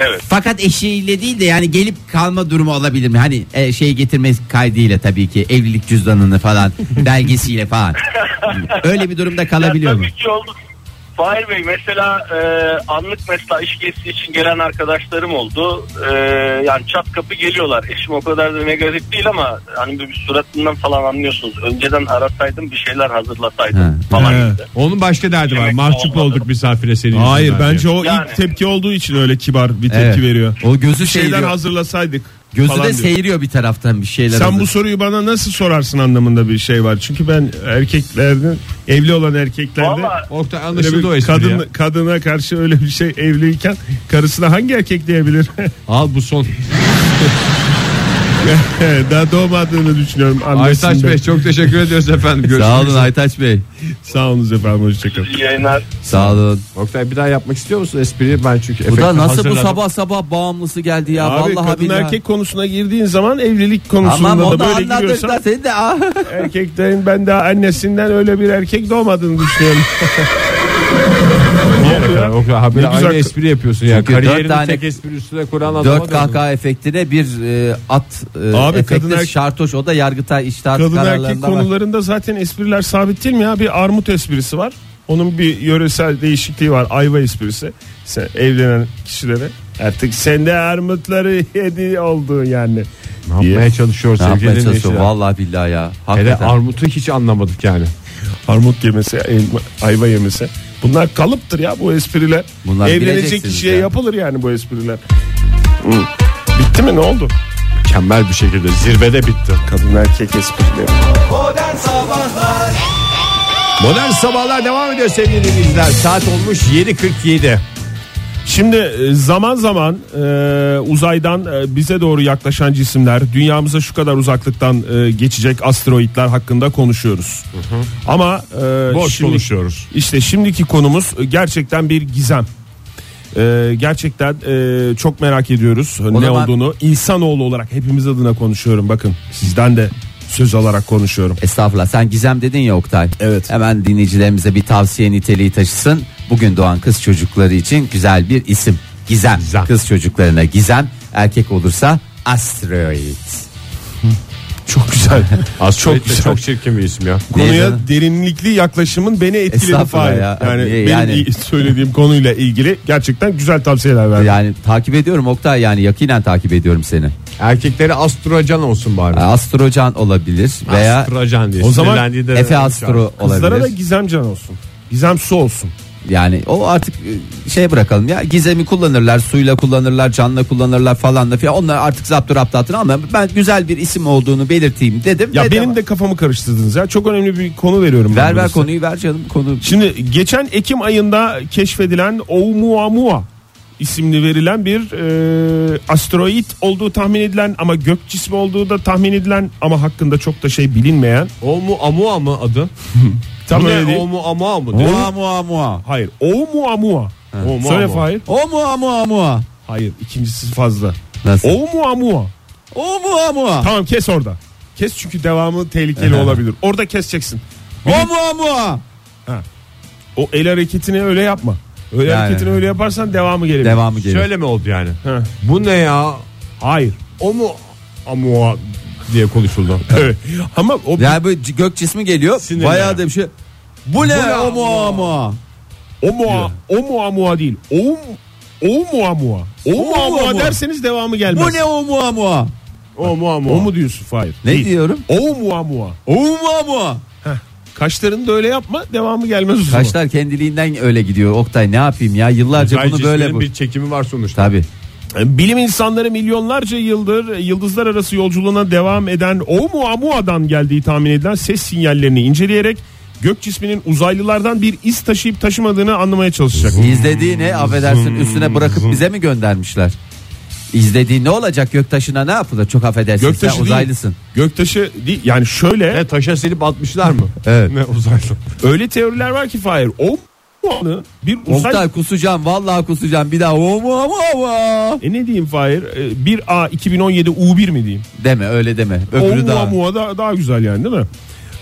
Speaker 7: Evet.
Speaker 5: Fakat eşiyle değil de yani gelip kalma durumu olabilir mi? Hani e, şey getirme kaydıyla tabii ki evlilik cüzdanını falan belgesiyle falan. Öyle bir durumda kalabiliyor
Speaker 7: Ya
Speaker 5: mu?
Speaker 7: Tabii ki oldu. Fahir Bey mesela e, anlık mesela iş gezisi için gelen arkadaşlarım oldu. E, yani çat kapı geliyorlar. Eşim o kadar da negatif değil ama hani bir, bir suratından falan anlıyorsunuz. Önceden arasaydım bir şeyler hazırlasaydım
Speaker 5: Ha.
Speaker 7: falan
Speaker 4: He.
Speaker 7: gibi.
Speaker 3: Onun başka derdi var.
Speaker 7: Yemek
Speaker 3: Mahcup
Speaker 7: olmadı.
Speaker 3: olduk misafire senin
Speaker 4: Hayır
Speaker 3: yüzünden
Speaker 4: bence
Speaker 3: diye.
Speaker 4: o
Speaker 7: Yani.
Speaker 4: ilk tepki olduğu için öyle kibar bir tepki
Speaker 5: Evet.
Speaker 4: veriyor.
Speaker 5: O gözü
Speaker 4: Bir şeyler
Speaker 5: seyiriyor.
Speaker 4: hazırlasaydık.
Speaker 5: Şey Gözü
Speaker 4: falan
Speaker 5: de şey
Speaker 4: diyor.
Speaker 5: seyiriyor bir taraftan bir şeyler.
Speaker 4: Sen
Speaker 5: hazır.
Speaker 4: bu soruyu bana nasıl sorarsın anlamında bir şey var. Çünkü ben erkeklerde evli olan erkeklerde
Speaker 7: Vallahi
Speaker 3: Oktay
Speaker 4: öyle bir
Speaker 3: anlaşıldı o espri
Speaker 4: kadın,
Speaker 3: ya.
Speaker 4: kadına karşı öyle bir şey evliyken karısına hangi erkek diyebilir?
Speaker 3: Al bu son.
Speaker 4: Daha doğmadığını düşünüyorum.
Speaker 3: Aytaç
Speaker 4: annesinde.
Speaker 3: Bey çok teşekkür ediyoruz efendim. Görüşmek
Speaker 5: Sağ olun
Speaker 3: üzere.
Speaker 5: Aytaç Bey.
Speaker 4: Sağ olunuz efendim hoşçakalın.
Speaker 7: İyi yayınlar.
Speaker 5: Sağ olun.
Speaker 3: Oktay bir daha yapmak istiyor musun espriyi? Ben çünkü
Speaker 5: Bu da
Speaker 3: efekti
Speaker 5: nasıl bu
Speaker 3: hazırladım.
Speaker 5: sabah sabah bağımlısı geldi ya.
Speaker 4: Abi
Speaker 5: Vallahi
Speaker 4: kadın
Speaker 5: billahi.
Speaker 4: erkek konusuna girdiğin zaman evlilik konusunda
Speaker 5: Tamam
Speaker 4: da
Speaker 5: onu
Speaker 4: böyle
Speaker 5: anladık da
Speaker 4: giriyorsan
Speaker 5: seni de ah.
Speaker 4: erkeklerin ben daha annesinden öyle bir erkek doğmadığını düşünüyorum.
Speaker 3: Ne yapıyor? Oktay habire
Speaker 4: Ne güzel-
Speaker 3: aynı espri yapıyorsun ya.
Speaker 5: Çünkü dört
Speaker 3: Kariyerini
Speaker 5: tane-
Speaker 3: tek espri üstüne kuran adama
Speaker 5: Dört
Speaker 3: döndün.
Speaker 5: kahkaha efektine bir e, at e,
Speaker 4: Abi
Speaker 5: efekti
Speaker 4: kadın erkek-
Speaker 5: şartoş o da yargıta iştahat
Speaker 4: Kadın erkek
Speaker 5: kararlarında var.
Speaker 4: konularında zaten espriler sabit değil mi ya? Bir armut esprisi var. Onun bir yöresel değişikliği var. Ayva esprisi. Sen evlenen kişilere artık sende armutları yedi oldu yani.
Speaker 3: Ne yapmaya çalışıyor
Speaker 5: Ne
Speaker 3: sevgili
Speaker 5: yapmaya çalışıyor?
Speaker 3: dinleyiciler?
Speaker 5: Vallahi billahi ya.
Speaker 3: Hele
Speaker 5: Hakikaten.
Speaker 3: armutu hiç anlamadık yani.
Speaker 4: Armut yemesi, elma- ayva yemesi. Bunlar kalıptır ya bu espriler.
Speaker 5: Bunlar
Speaker 4: Evlenecek
Speaker 5: bileceksiniz
Speaker 4: kişiye
Speaker 5: ya.
Speaker 4: yapılır yani bu espriler. Hı. Bitti mi ne oldu?
Speaker 3: Mükemmel bir şekilde zirvede bitti.
Speaker 4: Kadın erkek esprileri.
Speaker 2: Modern Sabahlar
Speaker 3: Modern sabahlar devam ediyor sevgili dinleyiciler. Saat olmuş 7.47.
Speaker 4: Şimdi e, zaman zaman e, uzaydan e, bize doğru yaklaşan cisimler dünyamıza şu kadar uzaklıktan e, geçecek asteroidler hakkında konuşuyoruz. Ama e,
Speaker 3: Boş
Speaker 4: şimdi-
Speaker 3: konuşuyoruz.
Speaker 4: İşte şimdiki konumuz e, gerçekten bir gizem. E, gerçekten e, çok merak ediyoruz e, ne
Speaker 5: zaman-
Speaker 4: olduğunu. İnsanoğlu olarak hepimiz adına konuşuyorum. Bakın sizden de söz alarak konuşuyorum.
Speaker 5: Estağfurullah sen gizem dedin ya Oktay.
Speaker 4: Evet.
Speaker 5: Hemen dinleyicilerimize bir tavsiye niteliği taşısın. Bugün doğan kız çocukları için güzel bir isim. Gizem.
Speaker 3: Gizem.
Speaker 5: Kız çocuklarına gizem. Erkek olursa asteroid.
Speaker 4: Çok güzel.
Speaker 3: Az çok
Speaker 4: güzel.
Speaker 3: çok çirkin bir isim ya.
Speaker 5: Niye
Speaker 4: Konuya
Speaker 5: canım?
Speaker 4: derinlikli yaklaşımın beni etkiledi
Speaker 5: Estağfurullah
Speaker 4: Fahir.
Speaker 5: ya.
Speaker 4: Yani
Speaker 5: Niye
Speaker 4: benim
Speaker 5: yani?
Speaker 4: iyi söylediğim konuyla ilgili gerçekten güzel tavsiyeler verdi.
Speaker 5: Yani takip ediyorum Oktay yani yakinen takip ediyorum seni.
Speaker 3: Erkekleri astrocan olsun bari.
Speaker 5: Astrocan olabilir veya
Speaker 3: astrocan diye.
Speaker 4: O zaman
Speaker 3: Sinirlendiği de-
Speaker 5: Efe Astro
Speaker 4: Kızlara da
Speaker 5: olabilir.
Speaker 4: gizemcan olsun. Gizem su olsun.
Speaker 5: Yani o artık e, şey bırakalım ya gizemi kullanırlar suyla kullanırlar canla kullanırlar falan da filan onlar artık zaptı raptatını ama ben güzel bir isim olduğunu belirteyim dedim.
Speaker 4: Ya
Speaker 5: ve
Speaker 4: benim
Speaker 5: devam-
Speaker 4: de kafamı karıştırdınız ya. Çok önemli bir konu veriyorum. ben
Speaker 5: ver ver
Speaker 4: burası.
Speaker 5: konuyu ver canım konu.
Speaker 4: Şimdi geçen Ekim ayında keşfedilen Oumuamua isimli verilen bir e, asteroid olduğu tahmin edilen ama gök cismi olduğu da tahmin edilen ama hakkında çok da şey bilinmeyen.
Speaker 3: O mu amua mı adı?
Speaker 4: Tam
Speaker 3: Bu ne?
Speaker 4: öyle değil.
Speaker 3: O mu amua mı? Değil mi?
Speaker 5: Mua mua mua.
Speaker 4: Hayır. Oumuamua.
Speaker 3: Oumuamua.
Speaker 4: Söyle Fahir.
Speaker 5: O mua mua mua.
Speaker 4: Hayır ikincisi fazla.
Speaker 5: Nasıl?
Speaker 4: Oumuamua.
Speaker 5: O mua mua.
Speaker 4: Tamam kes orada. Kes çünkü devamı tehlikeli olabilir. Orada keseceksin.
Speaker 5: O mua mua.
Speaker 4: O el hareketini öyle yapma. Öyle
Speaker 5: Yani.
Speaker 4: hareketini öyle yaparsan devamı gelir.
Speaker 5: Devamı gelir.
Speaker 3: Şöyle mi oldu yani?
Speaker 4: Heh.
Speaker 3: Bu ne ya?
Speaker 4: Hayır.
Speaker 3: O mu amua diye konuşuldu.
Speaker 4: Evet. Ama o
Speaker 5: Yani bu c- gök cismi geliyor.
Speaker 3: Sinirli.
Speaker 5: Bayağı da bir şey. Bu ne?
Speaker 3: ne?
Speaker 5: O mua mua.
Speaker 4: o mua, o mua mua değil. O o mua mua. O mua mua
Speaker 5: mua.
Speaker 4: derseniz devamı gelmez.
Speaker 5: Bu ne o mua mua?
Speaker 4: O mua mua.
Speaker 6: O mu diyorsun Fahir?
Speaker 5: Ne diyorum?
Speaker 4: O mua mua.
Speaker 5: Oğuma bu.
Speaker 4: Kaşlarını da öyle yapma devamı gelmez o zaman.
Speaker 5: Kaşlar kendiliğinden öyle gidiyor. Oktay ne yapayım ya yıllarca
Speaker 3: Güzel
Speaker 5: bunu böyle
Speaker 3: cisminin
Speaker 5: bu.
Speaker 3: bir çekimi var sonuçta.
Speaker 5: Tabii.
Speaker 4: Bilim insanları milyonlarca yıldır yıldızlar arası yolculuğuna devam eden Oumuamua'dan geldiği tahmin edilen ses sinyallerini inceleyerek gök cisminin uzaylılardan bir iz taşıyıp taşımadığını anlamaya çalışacak.
Speaker 5: İzlediği ne affedersin üstüne bırakıp bize mi göndermişler? İzlediği ne olacak göktaşına ne yapılır? Çok affedersin
Speaker 4: Göktaşı
Speaker 5: sen uzaylısın.
Speaker 4: Değil, göktaşı değil yani şöyle
Speaker 3: E, taşa silip atmışlar mı?
Speaker 5: Evet.
Speaker 3: Ne uzaylı.
Speaker 4: öyle teoriler var ki Fahir Oumuamua'nı bir uzay
Speaker 5: Oktay kusacağım vallahi kusacağım bir daha oğuma oğuma.
Speaker 4: E ne diyeyim Fahir? E, 1A 2017 U1 mi diyeyim?
Speaker 5: Deme öyle deme. Öbürü
Speaker 4: O daha.
Speaker 5: daha.
Speaker 4: Mua da, daha güzel yani değil mi?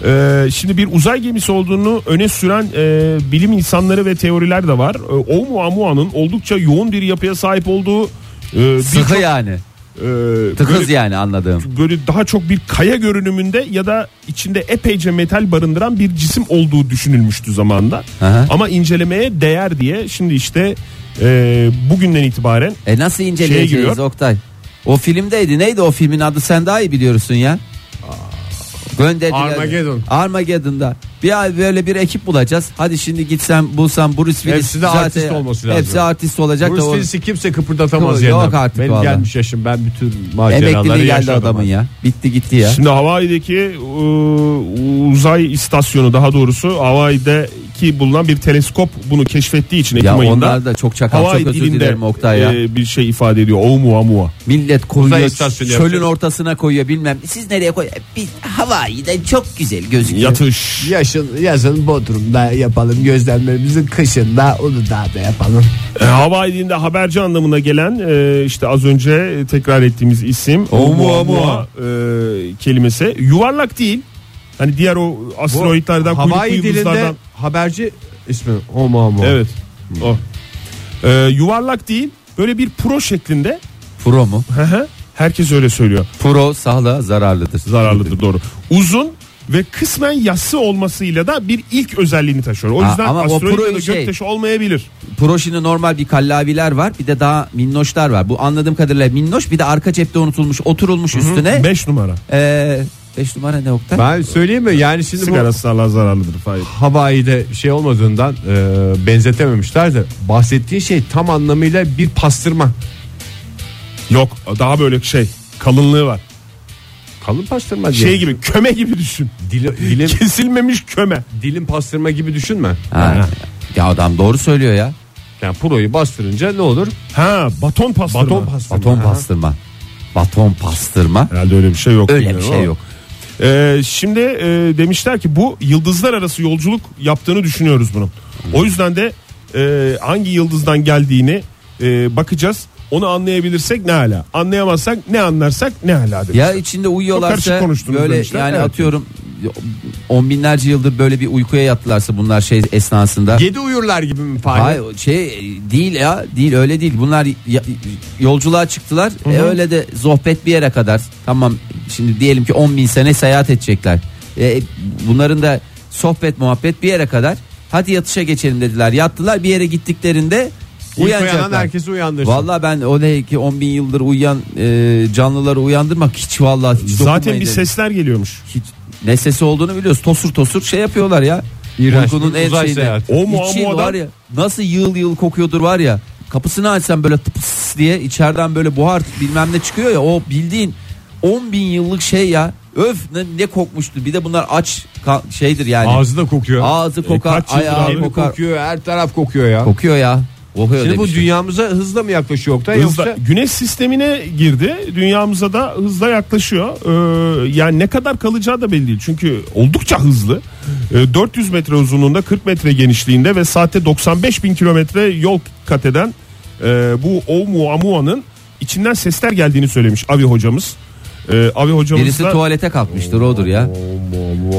Speaker 4: E, şimdi bir uzay gemisi olduğunu öne süren e, bilim insanları ve teoriler de var. E, Oumuamua'nın oldukça yoğun bir yapıya sahip olduğu e, birçok,
Speaker 5: Sıkı yani.
Speaker 4: e,
Speaker 5: Tıkız
Speaker 4: böyle,
Speaker 5: yani anladığım.
Speaker 4: böyle daha çok bir kaya görünümünde ya da içinde epeyce metal barındıran bir cisim olduğu düşünülmüştü zamanında.
Speaker 5: Aha.
Speaker 4: Ama incelemeye değer diye şimdi işte e, bugünden itibaren
Speaker 5: E nasıl
Speaker 3: Şey
Speaker 5: inceleyeceğiz
Speaker 4: giriyor.
Speaker 5: Oktay? O filmdeydi. Neydi o filmin adı? Sen daha iyi biliyorsun ya. Gönderdiler.
Speaker 3: Armageddon.
Speaker 5: Armageddon'da. Bir ay böyle bir ekip bulacağız. Hadi şimdi gitsem bulsam Bruce Willis.
Speaker 3: Hepsi de artist olması lazım.
Speaker 5: Hepsi artist olacak
Speaker 3: Bruce
Speaker 5: da o
Speaker 3: Willis'i kimse kıpırdatamaz
Speaker 5: Yok
Speaker 3: yerine.
Speaker 5: artık
Speaker 3: Benim
Speaker 5: vallahi.
Speaker 3: gelmiş yaşım ben bütün maceraları
Speaker 5: emekliliği geldi
Speaker 3: yaşadım.
Speaker 5: adamın ya. Bitti gitti ya.
Speaker 4: Şimdi Hawaii'deki e, uzay istasyonu daha doğrusu Hawaii'deki bulunan bir teleskop bunu keşfettiği için Ekim
Speaker 5: ya
Speaker 4: ayında
Speaker 5: onlar da çok çakal
Speaker 4: Hawaii
Speaker 5: çok özür
Speaker 4: dilinde,
Speaker 5: dilerim Oktay ya.
Speaker 4: e, bir şey ifade ediyor. Oumuamua.
Speaker 5: Millet koyuyor
Speaker 3: istasyonu
Speaker 5: çölün
Speaker 3: yapacağız.
Speaker 5: ortasına koyuyor bilmem. Siz nereye koy? Biz Hawaii'de çok güzel gözüküyor.
Speaker 4: Yatış.
Speaker 3: Yaşın, yazın Bodrum'da yapalım gözlemlerimizi kışın da Uludağ'da yapalım.
Speaker 4: E, Hawaii dilinde haberci anlamına gelen e, işte az önce tekrar ettiğimiz isim Oumuamua e, kelimesi yuvarlak değil. Hani diğer o asteroitlerden kuyruklu
Speaker 3: Havai dilinde
Speaker 4: yıldızlardan
Speaker 3: haberci ismi Homo Homo.
Speaker 4: Evet. O. E, yuvarlak değil. Böyle bir pro şeklinde
Speaker 5: Pro mu?
Speaker 4: Hı hı. Herkes öyle söylüyor.
Speaker 5: Pro sağlığa zararlıdır.
Speaker 4: Zararlıdır doğru. Uzun ve kısmen yassı olmasıyla da bir ilk özelliğini taşıyor. O
Speaker 5: Ha,
Speaker 4: yüzden
Speaker 5: ama o
Speaker 4: asteroid ya da
Speaker 5: proyu şey-
Speaker 4: göktaşı olmayabilir.
Speaker 5: Pro şimdi normal bir kallaviler var bir de daha minnoşlar var. Bu anladığım kadarıyla minnoş bir de arka cepte unutulmuş oturulmuş üstüne.
Speaker 4: 5 numara.
Speaker 5: Ee, beş numara ne Oktay?
Speaker 3: Ben söyleyeyim mi? Yani şimdi bu
Speaker 4: Sigara sağlığa zararlıdır. Hayır.
Speaker 3: Hawaii'de şey olmadığından e, benzetememişler de bahsettiğin şey tam anlamıyla bir pastırma.
Speaker 4: Yok daha böyle şey kalınlığı var.
Speaker 3: Kalın pastırma diye.
Speaker 4: Şey gibi köme gibi düşün.
Speaker 3: Dili- dilim,
Speaker 4: Kesilmemiş köme.
Speaker 3: dilim pastırma gibi düşünme.
Speaker 5: Ha. Ya adam doğru söylüyor ya.
Speaker 3: Yani puroyu bastırınca ne olur?
Speaker 4: Ha baton pastırma.
Speaker 3: Baton pastırma.
Speaker 5: Baton
Speaker 3: Aha.
Speaker 5: pastırma. Baton pastırma.
Speaker 4: Herhalde öyle bir şey yok.
Speaker 5: Öyle bir
Speaker 4: bilmiyorum
Speaker 5: şey
Speaker 4: ama.
Speaker 5: yok.
Speaker 4: Ee, şimdi e, demişler ki bu yıldızlar arası yolculuk yaptığını düşünüyoruz bunun. O yüzden de e, hangi yıldızdan geldiğini e, bakacağız. Onu anlayabilirsek ne hala. Anlayamazsak ne anlarsak ne hala demiş.
Speaker 5: Ya içinde
Speaker 4: Çok karışık
Speaker 5: uyuyorlarsa
Speaker 4: konuştunuz
Speaker 5: böyle
Speaker 4: demişler.
Speaker 5: yani
Speaker 4: Evet.
Speaker 5: atıyorum on binlerce yıldır böyle bir uykuya yattılarsa bunlar şey esnasında.
Speaker 3: Yedi uyurlar gibi mi Fahir?
Speaker 5: Hayır şey değil ya değil öyle değil bunlar ya- yolculuğa çıktılar E, öyle de sohbet bir yere kadar tamam şimdi diyelim ki 10 bin sene seyahat edecekler E, bunların da sohbet muhabbet bir yere kadar hadi yatışa geçelim dediler yattılar bir yere gittiklerinde
Speaker 3: İlk uyanan
Speaker 5: uyanacaklar.
Speaker 3: herkesi uyandırsın.
Speaker 5: Valla ben öyle ki 10 bin yıldır uyuyan e, canlıları uyandırmak hiç valla hiç
Speaker 4: Zaten
Speaker 5: dokunmayın
Speaker 4: bir
Speaker 5: dedim.
Speaker 4: sesler geliyormuş.
Speaker 5: Hiç- ne sesi olduğunu biliyoruz. Tosur tosur şey yapıyorlar ya.
Speaker 3: İğrenç.
Speaker 5: Uykunun en
Speaker 3: Uzay
Speaker 5: şeyini.
Speaker 3: seyahati.
Speaker 4: O mu, o
Speaker 5: İçin
Speaker 4: mu adam?
Speaker 5: var ya nasıl yığıl yığıl kokuyordur var ya. Kapısını açsan böyle tıpıs diye içeriden böyle buhar bilmem ne çıkıyor ya. O bildiğin 10 bin yıllık şey ya. Öf ne, ne kokmuştu. Bir de bunlar aç ka- şeydir yani.
Speaker 3: Ağzı da kokuyor.
Speaker 5: hani Ağzı kokar,
Speaker 4: E, kaç yıldır abi
Speaker 5: ayağı
Speaker 3: Evi
Speaker 5: kokar.
Speaker 3: kokuyor, her taraf kokuyor ya.
Speaker 5: Kokuyor ya. Kokuyor
Speaker 3: Şimdi bu
Speaker 5: demiştim.
Speaker 3: dünyamıza hızla mı yaklaşıyor Oktay
Speaker 4: Hızla-
Speaker 3: yoksa
Speaker 4: güneş sistemine girdi. Dünyamıza da hızla yaklaşıyor. Ee, yani ne kadar kalacağı da belli değil. Çünkü oldukça hızlı. Ee, 400 metre uzunluğunda 40 metre genişliğinde ve saatte 95 bin kilometre yol kat eden e, bu Oumuamua'nın içinden sesler geldiğini söylemiş Avi hocamız. Ee, Avi hocamız
Speaker 5: Birisi
Speaker 4: da
Speaker 5: tuvalete kalkmıştır odur ya.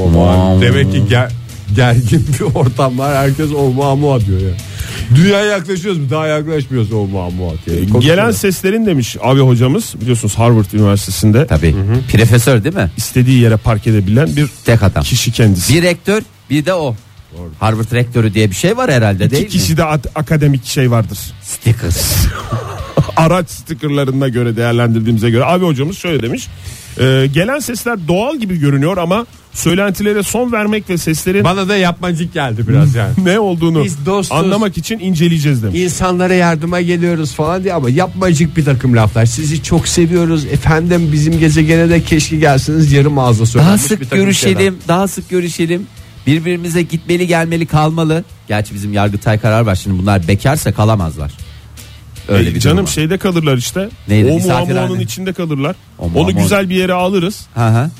Speaker 3: Aman, demek ki ger- gergin bir ortam var. Herkes olma mua diyor ya. Dünya yaklaşıyoruz mu? Daha yaklaşmıyoruz olma mua diye.
Speaker 4: gelen
Speaker 3: Konuşuyorlar.
Speaker 4: seslerin demiş Avi hocamız biliyorsunuz Harvard Üniversitesi'nde
Speaker 5: Tabii. Profesör değil mi?
Speaker 4: istediği yere park edebilen bir
Speaker 5: Tek adam.
Speaker 4: kişi kendisi.
Speaker 5: Bir rektör bir de o.
Speaker 4: E,
Speaker 5: Harvard rektörü diye bir şey var herhalde
Speaker 4: İki
Speaker 5: değil mi?
Speaker 4: kişi de at- akademik şey vardır.
Speaker 5: Stickers.
Speaker 4: araç stikerlarına göre değerlendirdiğimize göre. Abi hocamız şöyle demiş. Ee, gelen sesler doğal gibi görünüyor ama söylentilere son vermek ve seslerin
Speaker 3: Bana da yapmacık geldi biraz yani.
Speaker 4: ne olduğunu
Speaker 3: Biz dostuz.
Speaker 4: anlamak için inceleyeceğiz demiş.
Speaker 3: İnsanlara yardıma geliyoruz falan diye ama yapmacık bir takım laflar. Sizi çok seviyoruz efendim bizim gezegene de keşke gelsiniz yarım ağızla
Speaker 5: Daha
Speaker 3: söylenmiş bir
Speaker 5: sık
Speaker 3: takım
Speaker 5: görüşelim,
Speaker 3: şeyler.
Speaker 5: daha sık görüşelim. Birbirimize gitmeli, gelmeli, kalmalı. Gerçi bizim Yargıtay karar var şimdi bunlar bekarsa kalamazlar. Öyle bir
Speaker 4: Ee,
Speaker 5: durum
Speaker 4: canım
Speaker 5: var.
Speaker 4: şeyde kalırlar işte.
Speaker 5: Neydi,
Speaker 4: o
Speaker 5: misafirhane?
Speaker 4: muamuanın içinde kalırlar.
Speaker 5: O
Speaker 4: Onu
Speaker 5: muamua-
Speaker 4: güzel bir yere alırız.
Speaker 5: Ha ha.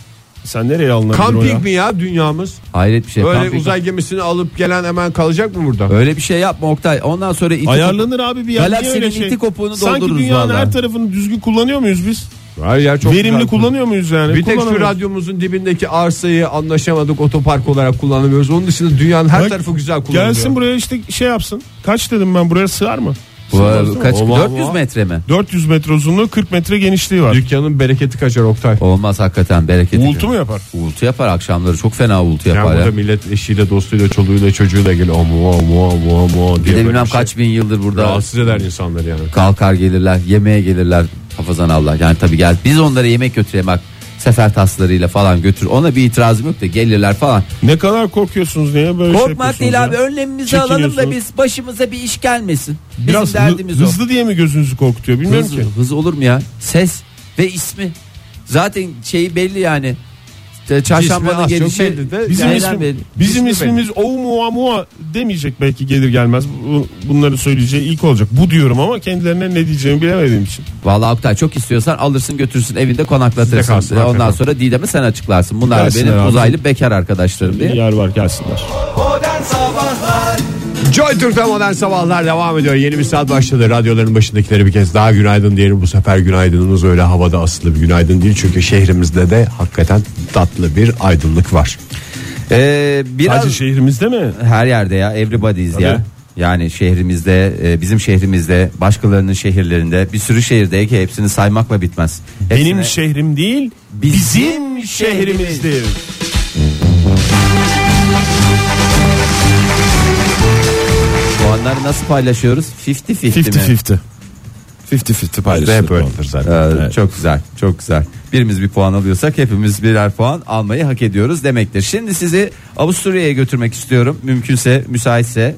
Speaker 4: Sen nereye alınabilir o ya?
Speaker 3: Kamping mi ya dünyamız?
Speaker 5: Hayret bir şey.
Speaker 3: Böyle
Speaker 5: Kamping-
Speaker 3: uzay gemisini alıp gelen hemen kalacak mı burada?
Speaker 5: Öyle bir şey yapma Oktay. Ondan sonra iti
Speaker 4: Ayarlanır abi bir yer. Niye
Speaker 5: Galaksinin
Speaker 4: öyle şey?
Speaker 5: iti kopuğunu
Speaker 4: Sanki
Speaker 5: doldururuz
Speaker 4: dünyanın
Speaker 5: vallahi.
Speaker 4: her tarafını düzgün kullanıyor muyuz biz?
Speaker 3: Her yer çok
Speaker 4: Verimli
Speaker 3: güzel.
Speaker 4: kullanıyor muyuz yani?
Speaker 3: Bir tek şu
Speaker 4: Kullanamıyoruz.
Speaker 3: radyomuzun dibindeki arsayı anlaşamadık otopark olarak kullanamıyoruz. Onun dışında dünyanın her
Speaker 4: Bak,
Speaker 3: tarafı güzel kullanılıyor.
Speaker 4: Gelsin buraya işte şey yapsın. Kaç dedim ben buraya sığar mı?
Speaker 5: Bu
Speaker 4: Sığmaz
Speaker 5: arada
Speaker 4: değil mi?
Speaker 5: kaç
Speaker 4: Oha,
Speaker 5: 400
Speaker 4: oha.
Speaker 5: metre mi?
Speaker 4: 400 metre uzunluğu 40 metre genişliği var.
Speaker 3: Dükkanın bereketi kaçar Oktay.
Speaker 5: Olmaz hakikaten bereket.
Speaker 4: Uğultu mu yapar?
Speaker 5: Uğultu yapar akşamları çok fena uğultu
Speaker 3: Yani
Speaker 5: yapar.
Speaker 3: burada
Speaker 5: ya.
Speaker 3: millet eşiyle, dostuyla, çoluğuyla, çocuğuyla geliyor. Omu, omu, omu, omu diye
Speaker 5: Bir de
Speaker 3: böyle
Speaker 5: bilmem
Speaker 3: bir şey.
Speaker 5: kaç bin yıldır burada
Speaker 3: rahatsız eder insanları yani.
Speaker 5: kalkar gelirler yemeğe gelirler hafazan Allah yani tabi gel biz onlara yemek götürelim bak sefer taslarıyla falan götür ona bir itirazım yok da gelirler falan
Speaker 4: Ne kadar korkuyorsunuz niye böyle şey
Speaker 5: korkmak
Speaker 4: yapıyorsunuz
Speaker 5: değil
Speaker 4: ya?
Speaker 5: abi önlemimizi
Speaker 4: Çekiniyorsunuz.
Speaker 5: alalım da biz başımıza bir iş gelmesin bizim
Speaker 4: Biraz hı-
Speaker 5: derdimiz o
Speaker 4: hızlı diye mi gözünüzü korkutuyor bilmiyorum
Speaker 5: hız,
Speaker 4: ki.
Speaker 5: hız olur mu ya ses ve ismi zaten şeyi belli yani İşte çarşambanın
Speaker 3: az çok
Speaker 5: gelişi
Speaker 3: belli de
Speaker 4: Bizim,
Speaker 5: Şeyler
Speaker 4: ismi-
Speaker 5: belli.
Speaker 4: bizim
Speaker 3: İsmi
Speaker 4: ismimiz o mua mua demeyecek belki gelir gelmez. Bu- Bunları söyleyeceği ilk olacak. Bu diyorum ama kendilerine ne diyeceğimi bilemediğim için.
Speaker 5: Vallahi Oktay çok istiyorsan alırsın götürsün evinde
Speaker 3: Size
Speaker 5: konaklatırsın.
Speaker 3: kalsın,
Speaker 5: Ve Ondan
Speaker 3: hakikaten.
Speaker 5: sonra Didem'i sen açıklarsın. Bunlar
Speaker 4: Gelsinler
Speaker 5: benim
Speaker 4: abi.
Speaker 5: uzaylı bekar arkadaşlarım
Speaker 4: Bir
Speaker 5: diye.
Speaker 4: yer var gelsinler.
Speaker 2: Modern Sabahlar
Speaker 3: Joy Türk'te modern sabahlar devam ediyor. Yeni bir saat başladı. Radyoların başındakileri bir kez daha günaydın diyelim. Bu sefer günaydınımız öyle havada asılı bir günaydın değil. Çünkü şehrimizde de hakikaten tatlı bir aydınlık var.
Speaker 5: Ee, biraz
Speaker 4: Sadece şehrimizde mi?
Speaker 5: her yerde ya everybody's ya. Yani şehrimizde e, bizim şehrimizde başkalarının şehirlerinde bir sürü şehirde ki hepsini saymakla bitmez. Hepsine-
Speaker 4: Benim şehrim değil, bizim şehrimizdir.
Speaker 5: puanları nasıl paylaşıyoruz? 50-50 mi?
Speaker 6: 50-50. 50-50
Speaker 3: Ve
Speaker 6: paylaşılır.
Speaker 3: hep öyledir zaten.
Speaker 5: Ee, Çok güzel, çok güzel. Birimiz bir puan alıyorsak hepimiz birer puan almayı hak ediyoruz demektir. Şimdi sizi Avusturya'ya götürmek istiyorum. Mümkünse, müsaitse,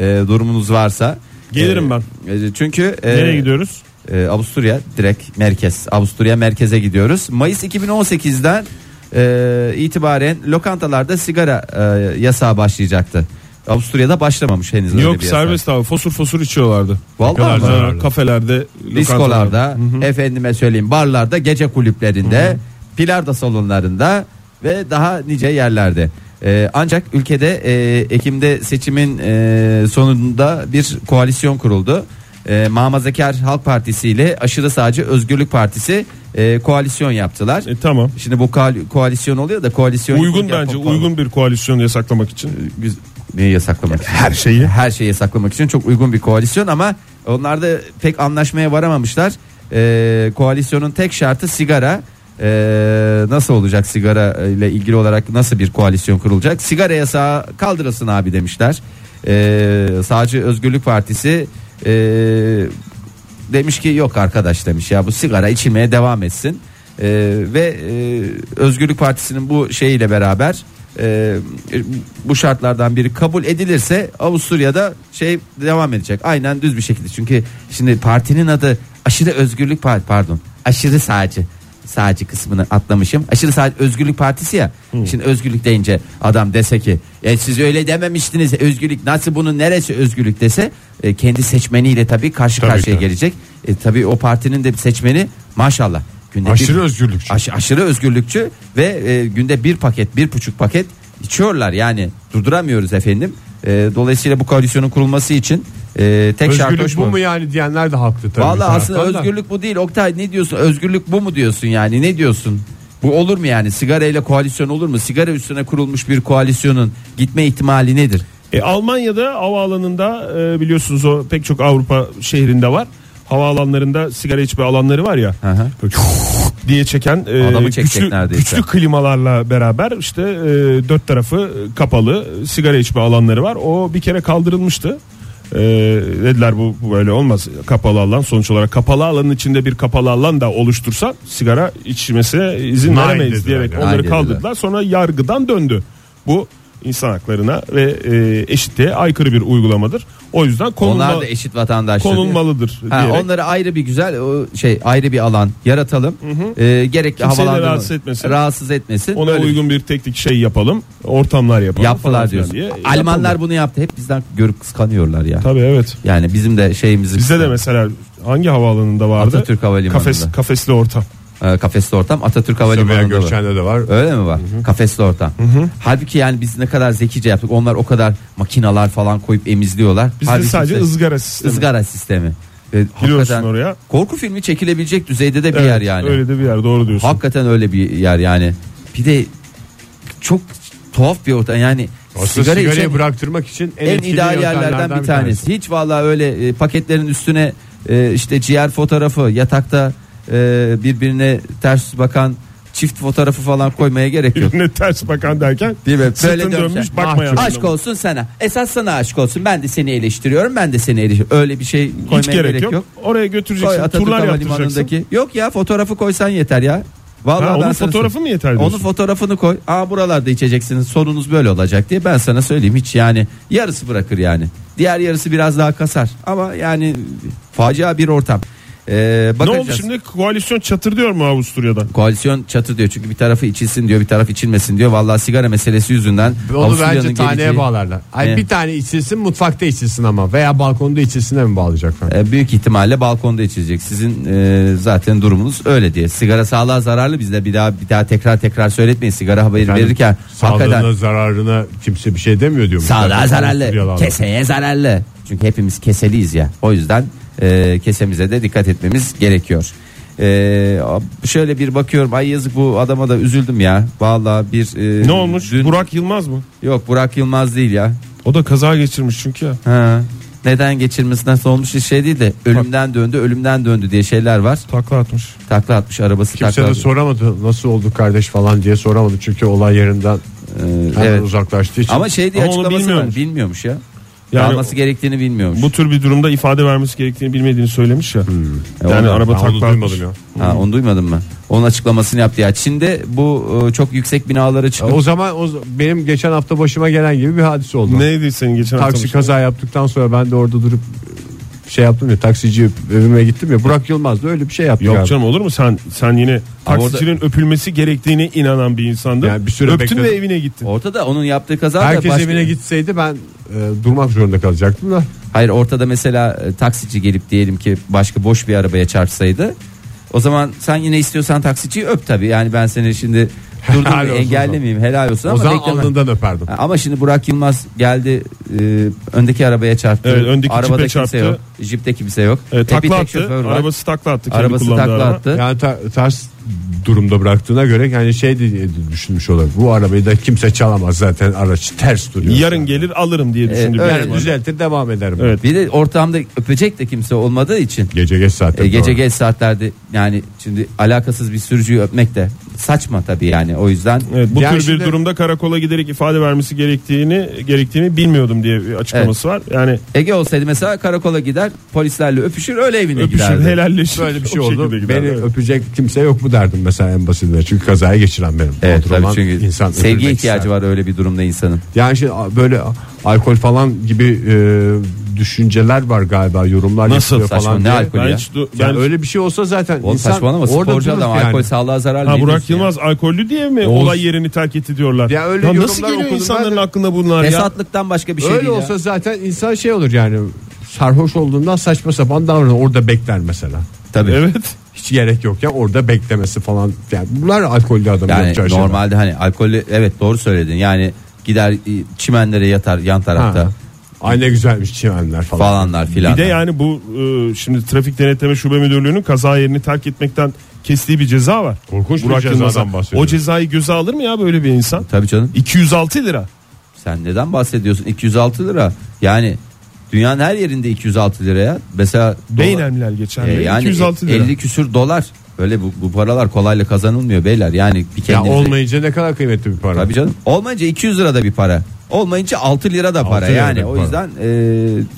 Speaker 5: e, durumunuz varsa.
Speaker 4: Gelirim ben.
Speaker 5: e, Çünkü e,
Speaker 4: Nereye gidiyoruz?
Speaker 5: e, Avusturya direkt merkez. Avusturya merkeze gidiyoruz. Mayıs 2018'den e, itibaren lokantalarda sigara e, yasağı başlayacaktı. Avusturya'da başlamamış henüz. öyle
Speaker 4: Yok
Speaker 5: bir yasak.
Speaker 4: serbest abi. Fosur fosur içiyorlardı.
Speaker 5: Vallahi
Speaker 4: Ne kadar
Speaker 5: mi?
Speaker 4: zararlı. Kafelerde, lokantalarda.
Speaker 5: diskolarda, efendime söyleyeyim barlarda, gece kulüplerinde, pilarda salonlarında ve daha nice yerlerde. Ee, ancak ülkede e, Ekim'de seçimin e, sonunda bir koalisyon kuruldu. E, Mamazekar Halk Partisi ile aşırı sağcı Özgürlük Partisi e, koalisyon yaptılar.
Speaker 4: E, tamam.
Speaker 5: Şimdi bu koal- koalisyon oluyor da koalisyon
Speaker 4: Uygun bence uygun bir koalisyon yasaklamak için.
Speaker 5: Güz- neyi yasaklamak için? Her şeyi. Her şeyi yasaklamak için çok uygun bir koalisyon ama onlar da pek anlaşmaya varamamışlar. Ee, koalisyonun tek şartı sigara. Ee, nasıl olacak sigara ile ilgili olarak nasıl bir koalisyon kurulacak? Sigara yasağı kaldırılsın abi demişler. Ee, Sağcı Özgürlük Partisi ee, demiş ki yok arkadaş demiş ya bu sigara içilmeye devam etsin Ee, ve e, Özgürlük Partisi'nin bu şeyiyle beraber e, bu şartlardan biri kabul edilirse Avusturya'da şey devam edecek aynen düz bir şekilde çünkü şimdi partinin adı aşırı Özgürlük Parti pardon aşırı sağcı sağcı kısmını atlamışım. Aşırı sağ Özgürlük Partisi ya. Şimdi özgürlük deyince adam dese ki e, siz öyle dememiştiniz. Özgürlük nasıl bunun neresi özgürlük dese e, kendi seçmeniyle tabii karşı karşıya gelecek. E, tabii o partinin de bir seçmeni maşallah. Günde
Speaker 3: Aşırı özgürlükçü.
Speaker 5: Aş- aşırı özgürlükçü ve e, günde bir paket bir buçuk paket içiyorlar yani durduramıyoruz efendim. E, dolayısıyla bu koalisyonun kurulması için e, tek şart
Speaker 3: Özgürlük
Speaker 5: hoş
Speaker 3: bu
Speaker 5: bu.
Speaker 3: mu yani diyenler de haklı tabii.
Speaker 5: Valla
Speaker 3: bir
Speaker 5: aslında
Speaker 3: taraftan da.
Speaker 5: özgürlük bu değil. Oktay ne diyorsun? Özgürlük bu mu diyorsun yani? Ne diyorsun? Bu olur mu yani? Sigara ile koalisyon olur mu? Sigara üstüne kurulmuş bir koalisyonun gitme ihtimali nedir?
Speaker 4: E, Almanya'da havaalanında e, biliyorsunuz o pek çok Avrupa şehrinde var. Havaalanlarında sigara içme alanları var ya.
Speaker 5: Hı hı.
Speaker 4: diye çeken e,
Speaker 5: Adamı çekecek
Speaker 4: güçlü,
Speaker 5: neredeyse.
Speaker 4: güçlü klimalarla beraber işte e, dört tarafı kapalı sigara içme alanları var. O bir kere kaldırılmıştı. Ee, dediler bu bu böyle olmaz kapalı alan sonuç olarak kapalı alanın içinde bir kapalı alan da oluştursa sigara içmesine izin
Speaker 3: Nein
Speaker 4: veremeyiz
Speaker 3: dediler
Speaker 4: diyerek
Speaker 3: yani.
Speaker 5: Nein
Speaker 4: onları
Speaker 5: dediler.
Speaker 4: kaldırdılar sonra yargıdan döndü bu insan haklarına ve e, eşitliğe aykırı bir uygulamadır o yüzden konulma,
Speaker 5: Onlar da eşit vatandaşlar.
Speaker 4: konulmalıdır
Speaker 5: Ha,
Speaker 4: diyerek
Speaker 5: onlara ayrı bir güzel o şey ayrı bir alan yaratalım. Ee, gerekli
Speaker 4: Kimseyi de
Speaker 5: havalandırma-
Speaker 4: rahatsız etmesin.
Speaker 5: Rahatsız etmesin.
Speaker 4: ona
Speaker 5: Öyle
Speaker 4: uygun bir teknik şey yapalım ortamlar yapalım falan
Speaker 5: yaptılar
Speaker 4: filan
Speaker 5: diyorsun.
Speaker 4: diye
Speaker 5: Almanlar
Speaker 4: yapıldı.
Speaker 5: bunu yaptı. Hep bizden görüp kıskanıyorlar ya.
Speaker 4: tabii evet
Speaker 5: Yani bizim de şeyimizi
Speaker 4: Bizde de mesela hangi havaalanında vardı?
Speaker 5: Atatürk Havalimanı'nda.
Speaker 4: Kafes, kafesli ortam.
Speaker 5: e, kafesli ortam Atatürk
Speaker 3: Veya
Speaker 5: Havalimanı'nda. var.
Speaker 3: Gökçen'de de var.
Speaker 5: Öyle mi var? Kafesli ortam. Halbuki yani biz ne kadar zekice yaptık. Onlar o kadar makinalar falan koyup emizliyorlar.
Speaker 4: Bizde
Speaker 5: Halbuki
Speaker 4: sadece
Speaker 5: işte-
Speaker 4: ızgara sistemi.
Speaker 5: ızgara sistemi. Ve hakikaten
Speaker 4: oraya.
Speaker 5: Korku filmi çekilebilecek düzeyde de bir
Speaker 4: Evet,
Speaker 5: yer yani.
Speaker 4: Öyle de bir yer doğru diyorsun.
Speaker 5: Hakikaten öyle bir yer yani. Bir de çok tuhaf bir ortam yani
Speaker 3: Aslında
Speaker 5: sigara
Speaker 3: sigarayı
Speaker 5: içen
Speaker 3: bıraktırmak için en,
Speaker 5: en
Speaker 3: etkili
Speaker 5: ideal
Speaker 3: yöntemlerden
Speaker 5: yerlerden bir tanesi. Hiç vallahi öyle e, paketlerin üstüne e, işte ciğer fotoğrafı, yatakta e, birbirine ters bakan çift fotoğrafı falan koymaya gerek yok.
Speaker 4: Birbirine ters bakan derken
Speaker 5: Değil mi?
Speaker 4: sırtını
Speaker 5: Böyle
Speaker 4: dönmüş
Speaker 5: dönmüşler.
Speaker 4: bakmayan.
Speaker 3: Mahcup.
Speaker 5: Aşk olsun sana. Esas sana aşk olsun. Ben de seni eleştiriyorum. Ben de seni eleştiriyorum. Öyle bir şey koymaya
Speaker 4: Hiç gerek, yok. Oraya götüreceksin.
Speaker 5: Koy Atatürk
Speaker 4: turlar yaptıracaksın.
Speaker 5: Havalimanı'ndaki. Yok ya fotoğrafı koysan yeter ya. Vallahi
Speaker 4: Ha,
Speaker 5: ben
Speaker 4: onun
Speaker 5: sana
Speaker 4: fotoğrafı mı yeter diyorsun?
Speaker 5: Onun fotoğrafını koy. Aa buralarda içeceksiniz. Sorunuz böyle olacak diye ben sana söyleyeyim hiç yani yarısı bırakır yani. Diğer yarısı biraz daha kasar ama yani facia bir ortam. Ee,
Speaker 4: ne
Speaker 5: bakacağız.
Speaker 4: oldu şimdi? Koalisyon çatır diyor mu Avusturya'da?
Speaker 5: Koalisyon çatı diyor çünkü bir tarafı içilsin diyor bir taraf içilmesin diyor. Vallahi sigara meselesi yüzünden
Speaker 3: Onu
Speaker 5: Avusturya'nın
Speaker 3: bence taneye
Speaker 5: geleceği-
Speaker 3: bağlarlar. Ay
Speaker 5: Ne?
Speaker 3: bir tane içilsin mutfakta içilsin ama veya balkonda içilsine mi bağlayacaklar?
Speaker 5: E, büyük ihtimalle balkonda içilecek. Sizin e, zaten durumunuz öyle diye. Sigara sağlığa zararlı bizde bir daha bir daha tekrar tekrar söyletmeyin. Sigara haberi verirken
Speaker 3: sağlığına
Speaker 5: hakikaten
Speaker 3: zararına kimse bir şey demiyor diyor.
Speaker 5: sağlığa
Speaker 3: Zaten
Speaker 5: zararlı,
Speaker 3: Avusturyalılar.
Speaker 5: keseye zararlı. Çünkü hepimiz keseliyiz ya. O yüzden e, kesemize de dikkat etmemiz gerekiyor. E, şöyle bir bakıyorum. Ay yazık bu adama da üzüldüm ya. Vallahi bir e,
Speaker 4: Ne olmuş?
Speaker 5: dün-
Speaker 4: Burak Yılmaz mı?
Speaker 5: Yok Burak Yılmaz değil ya.
Speaker 4: O da kaza geçirmiş çünkü ya.
Speaker 5: Ha. Neden geçirmesi nasıl olmuş bir şey değil de ölümden döndü ölümden döndü diye şeyler var.
Speaker 4: Takla atmış.
Speaker 5: Takla atmış arabası
Speaker 3: Kimse
Speaker 5: takla
Speaker 3: de
Speaker 5: atmış.
Speaker 3: soramadı nasıl oldu kardeş falan diye soramadı çünkü olay yerinden hemen
Speaker 5: Ee, evet.
Speaker 3: uzaklaştığı için.
Speaker 5: Ama şey diye
Speaker 4: Ama onu
Speaker 5: açıklaması var.
Speaker 4: bilmiyormuş.
Speaker 5: Bilmiyormuş ya.
Speaker 4: Yani
Speaker 5: Alması gerektiğini bilmiyormuş.
Speaker 4: Bu tür bir durumda ifade vermesi gerektiğini bilmediğini söylemiş ya. Yani
Speaker 5: Hmm. E, onu-
Speaker 4: araba
Speaker 3: ben onu
Speaker 4: takla atmış.
Speaker 3: duymadım ya.
Speaker 5: Ha, onu duymadın mı? Onun açıklamasını yaptı ya. Çin'de bu e, çok yüksek binalara çıkıp
Speaker 3: O zaman o, benim geçen hafta başıma gelen gibi bir hadise oldu.
Speaker 4: Neydi senin geçen şey? hafta?
Speaker 3: Taksi kaza yaptıktan sonra ben de orada durup şey yaptım ya taksici evime gittim ya Burak Yılmaz da öyle bir şey yaptı.
Speaker 4: Yok
Speaker 3: galiba.
Speaker 4: canım olur mu sen sen yine
Speaker 5: Ama
Speaker 4: taksicinin öpülmesi gerektiğine inanan bir insandın.
Speaker 3: Yani bir süre
Speaker 4: Öptün
Speaker 3: bekledim.
Speaker 4: ve evine gittin.
Speaker 5: ortada onun yaptığı kaza da
Speaker 3: Herkes
Speaker 5: başka-
Speaker 3: evine gitseydi ben e, durmak zorunda kalacaktım da.
Speaker 5: Hayır ortada mesela e, taksici gelip diyelim ki başka boş bir arabaya çarpsaydı. O zaman sen yine istiyorsan taksiciyi öp tabii. Yani ben seni şimdi
Speaker 3: Helal
Speaker 5: durdum
Speaker 3: olsun
Speaker 5: engellemeyeyim helal olsun
Speaker 3: o
Speaker 5: ama
Speaker 3: zaman
Speaker 5: bekleme.
Speaker 3: alnından öperdim.
Speaker 5: Ha, Ama şimdi Burak Yılmaz geldi e, öndeki arabaya çarptı.
Speaker 4: Evet, öndeki
Speaker 5: Arabada
Speaker 4: cipe
Speaker 5: kimse
Speaker 4: çarptı.
Speaker 5: yok. Jipte kimse yok.
Speaker 4: Ee,
Speaker 5: E, bir tek
Speaker 4: takla attı.
Speaker 5: şoför var.
Speaker 4: Arabası takla attı. Kendi
Speaker 5: Arabası
Speaker 4: kullandığı
Speaker 5: takla
Speaker 4: araba.
Speaker 5: attı.
Speaker 3: Yani ta- ters durumda bıraktığına göre yani şey diye düşünmüş olabilir. Bu arabayı da kimse çalamaz zaten araç ters duruyor.
Speaker 4: Yarın gelir alırım diye şey düşündü.
Speaker 5: öyle
Speaker 4: büyük
Speaker 3: yani
Speaker 4: ihtimalle.
Speaker 3: düzeltir devam ederim.
Speaker 4: Evet.
Speaker 5: Bir de ortamda öpecek de kimse olmadığı için
Speaker 3: Gece geç saatte.
Speaker 5: e, gece
Speaker 3: doğru.
Speaker 5: geç saatlerde yani şimdi alakasız bir sürücüyü öpmek de saçma tabii yani o yüzden
Speaker 4: Evet, bu
Speaker 3: Yani
Speaker 4: tür
Speaker 3: şimdi-
Speaker 4: bir durumda karakola giderek ifade vermesi gerektiğini gerektiğini bilmiyordum diye bir açıklaması var. Yani
Speaker 5: Ege olsaydı mesela karakola gider polislerle öpüşür öyle evine
Speaker 4: öpüşüp
Speaker 5: giderdi.
Speaker 4: helalleşip
Speaker 3: Böyle bir şey
Speaker 4: o
Speaker 3: oldu.
Speaker 4: şekilde
Speaker 3: Beni
Speaker 4: giderdi. Evet.
Speaker 3: öpecek kimse yok mu derdim mesela en basitinde. Çünkü kazaya geçiren benim.
Speaker 5: Evet
Speaker 3: Mağdur
Speaker 5: tabii
Speaker 3: olan
Speaker 5: çünkü
Speaker 3: insan
Speaker 5: sevgi
Speaker 3: öpülmek
Speaker 5: ihtiyacı
Speaker 3: ister.
Speaker 5: var öyle bir durumda insanın.
Speaker 3: Yani şey, a- böyle a- alkol falan gibi e, düşünceler var galiba yorumlar
Speaker 5: Nasıl
Speaker 3: yapılıyor
Speaker 5: saçma,
Speaker 3: falan.
Speaker 5: ne
Speaker 3: diye.
Speaker 5: alkol?
Speaker 4: Ben
Speaker 5: ya.
Speaker 4: hiç du-
Speaker 3: Yani
Speaker 4: ben-
Speaker 3: öyle bir şey olsa zaten
Speaker 5: Oğlum
Speaker 3: insan
Speaker 5: saçmalama sporcu
Speaker 3: durur
Speaker 5: adam
Speaker 3: yani.
Speaker 5: alkol sağlığa zararlı.
Speaker 4: Ha,
Speaker 5: ne
Speaker 4: Burak
Speaker 5: diyorsun ya?
Speaker 4: Yılmaz alkollü diye mi
Speaker 3: Oğuz-
Speaker 4: olay yerini terk etti diyorlar.
Speaker 3: Ya öyle
Speaker 4: nasıl
Speaker 3: yorumlar
Speaker 4: geliyor
Speaker 3: okudum
Speaker 4: insanların
Speaker 3: ben de.
Speaker 4: aklına bunlar ya?
Speaker 5: Fesatlıktan başka bir şey
Speaker 3: Öyle
Speaker 5: değil
Speaker 3: olsa
Speaker 5: ya.
Speaker 3: zaten insan şey olur yani sarhoş olduğundan saçma sapan davranır orada bekler mesela.
Speaker 5: Tabii.
Speaker 4: Evet.
Speaker 3: Hiç gerek yok ya orada beklemesi falan. Yani bunlar alkollü adam
Speaker 5: Yani
Speaker 3: yapacağı şeyler.
Speaker 5: normalde hani alkolü evet doğru söyledin. Yani gider e, çimenlere yatar yan tarafta
Speaker 3: Ha. Ay ne güzelmiş çimenler falan.
Speaker 5: falanlar filan.
Speaker 4: Bir de yani bu e, şimdi trafik denetleme şube müdürlüğünün kaza yerini terk etmekten kestiği bir ceza var.
Speaker 3: Korkunç bir cezadan
Speaker 4: Yılmaz'a.
Speaker 3: bahsediyorum.
Speaker 4: O cezayı göze alır mı ya böyle bir insan?
Speaker 5: Tabii canım.
Speaker 4: 206 lira.
Speaker 5: Sen neden bahsediyorsun? 206 lira. Yani dünyanın her yerinde 206 liraya. Mesela dola-
Speaker 4: Beynemler geçen.
Speaker 5: E,
Speaker 4: lira.
Speaker 5: yani
Speaker 4: 206 lira.
Speaker 5: 50 küsür dolar. Böyle bu, bu paralar kolayla kazanılmıyor beyler. Yani bir
Speaker 3: Ya
Speaker 5: kendinize.
Speaker 3: olmayınca ne kadar kıymetli bir para.
Speaker 5: Tabii canım. Olmayınca 200 lirada bir para. Olmayınca 6 lira da para
Speaker 6: lira da
Speaker 5: yani.
Speaker 6: para.
Speaker 5: o yüzden e,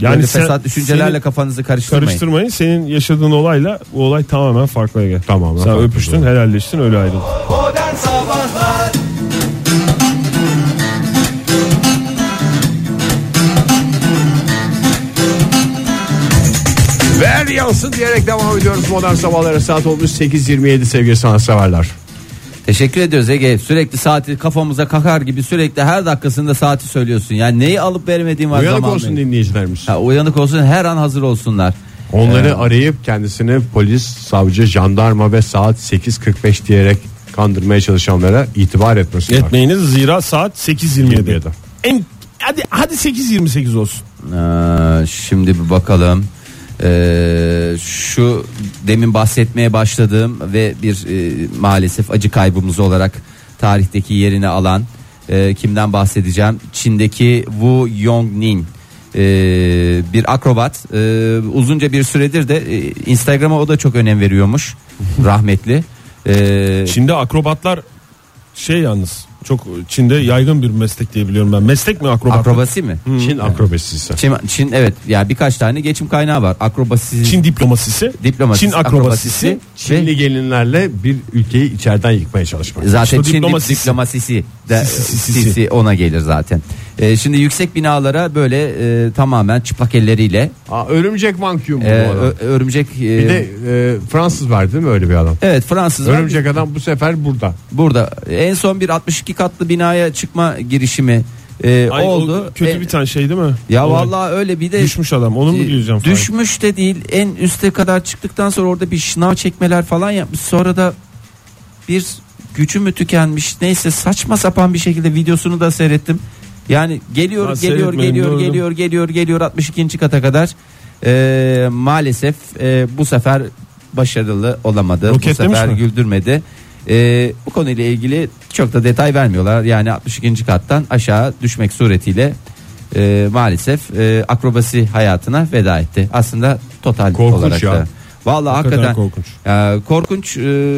Speaker 4: Yani
Speaker 5: böyle
Speaker 4: sen-
Speaker 5: fesat düşüncelerle
Speaker 4: senin-
Speaker 5: kafanızı karıştırmayın.
Speaker 4: Karıştırmayın. Senin yaşadığın olayla bu olay tamamen farklı Ege.
Speaker 6: Tamamen
Speaker 4: Sen
Speaker 6: farklı.
Speaker 4: öpüştün, helalleştin, öyle ayrıldın.
Speaker 8: Modern Sabahlar
Speaker 6: Ver yansın diyerek devam ediyoruz modern sabahlara saat olmuş 8.27 sevgili sanatseverler.
Speaker 5: Teşekkür ediyoruz Ege. Sürekli saati kafamıza kakar gibi sürekli her dakikasında saati söylüyorsun. Yani neyi alıp vermediğin var
Speaker 6: Uyanık
Speaker 5: zamanla.
Speaker 6: olsun dinleyicilerimiz.
Speaker 5: Ha, uyanık olsun her an hazır olsunlar. Ee,
Speaker 6: Onları arayıp kendisini polis, savcı, jandarma ve saat 8.45 diyerek kandırmaya çalışanlara itibar etmesinler.
Speaker 4: Etmeyiniz zira saat 8.27.
Speaker 6: 27'de.
Speaker 4: En, hadi hadi 8.28 olsun.
Speaker 5: Ee, şimdi bir bakalım. Ee, şu demin bahsetmeye başladığım ve bir e, maalesef acı kaybımız olarak tarihteki yerini alan e, kimden bahsedeceğim? Çin'deki Wu Yongning Ee, bir akrobat Ee, uzunca bir süredir de e, Instagram'a o da çok önem veriyormuş rahmetli. Ee,
Speaker 4: Çin'de akrobatlar şey yalnız çok Çin'de yaygın bir meslek diye biliyorum ben. Meslek mi akrobat?
Speaker 5: akrobasi mi?
Speaker 6: Çin akrobasisi.
Speaker 5: Çin, Çin evet ya birkaç tane geçim kaynağı var. Akrobasi
Speaker 4: Çin diplomasisi,
Speaker 5: diplomasisi,
Speaker 4: Çin akrobasisi.
Speaker 5: ve-
Speaker 6: Çinli gelinlerle bir ülkeyi içeriden yıkmaya çalışmak.
Speaker 5: Zaten
Speaker 4: İşte
Speaker 5: Çin diplomasisi,
Speaker 4: diplomasisi.
Speaker 5: diplomasisi de,
Speaker 4: Sisi, sisi.
Speaker 5: sisi ona gelir zaten. Ee, şimdi yüksek binalara böyle e, tamamen çıplak elleriyle
Speaker 6: Aa, örümcek mankyum bu
Speaker 5: e,
Speaker 6: adam.
Speaker 5: ö- örümcek e,
Speaker 6: Bir de e, Fransız var değil mi öyle bir adam?
Speaker 5: evet Fransızlar
Speaker 6: Örümcek adam bu sefer burada.
Speaker 5: burada en son bir 62 katlı binaya çıkma girişimi e,
Speaker 4: Ay, o
Speaker 5: oldu.
Speaker 4: Kötü
Speaker 5: E,
Speaker 4: bir tane şey değil mi?
Speaker 5: ya
Speaker 4: Olay.
Speaker 5: vallahi öyle bir de e,
Speaker 4: düşmüş adam. Onu mu diyeceğim? Fahir?
Speaker 5: Düşmüş de değil en üste kadar çıktıktan sonra orada bir şınav çekmeler falan yapmış. Sonra da bir gücü mü tükenmiş neyse saçma sapan bir şekilde videosunu da seyrettim. Yani geliyor
Speaker 4: Ben
Speaker 5: geliyor
Speaker 4: seyretmedim,
Speaker 5: geliyor
Speaker 4: doğru.
Speaker 5: geliyor geliyor geliyor 62. kata kadar. Ee, maalesef e, bu sefer başarılı olamadı. Bu
Speaker 4: Roketlemiş
Speaker 5: sefer
Speaker 4: mi?
Speaker 5: güldürmedi. Ee, bu konuyla ilgili çok da detay vermiyorlar. Yani 62. kattan aşağı düşmek suretiyle e, maalesef e, akrobasi hayatına veda etti. Aslında total
Speaker 6: Korkunç
Speaker 5: olarak
Speaker 6: ya.
Speaker 5: da. Vallahi
Speaker 4: Ne kadar
Speaker 5: hakikaten
Speaker 4: korkunç.
Speaker 5: e, korkunç e,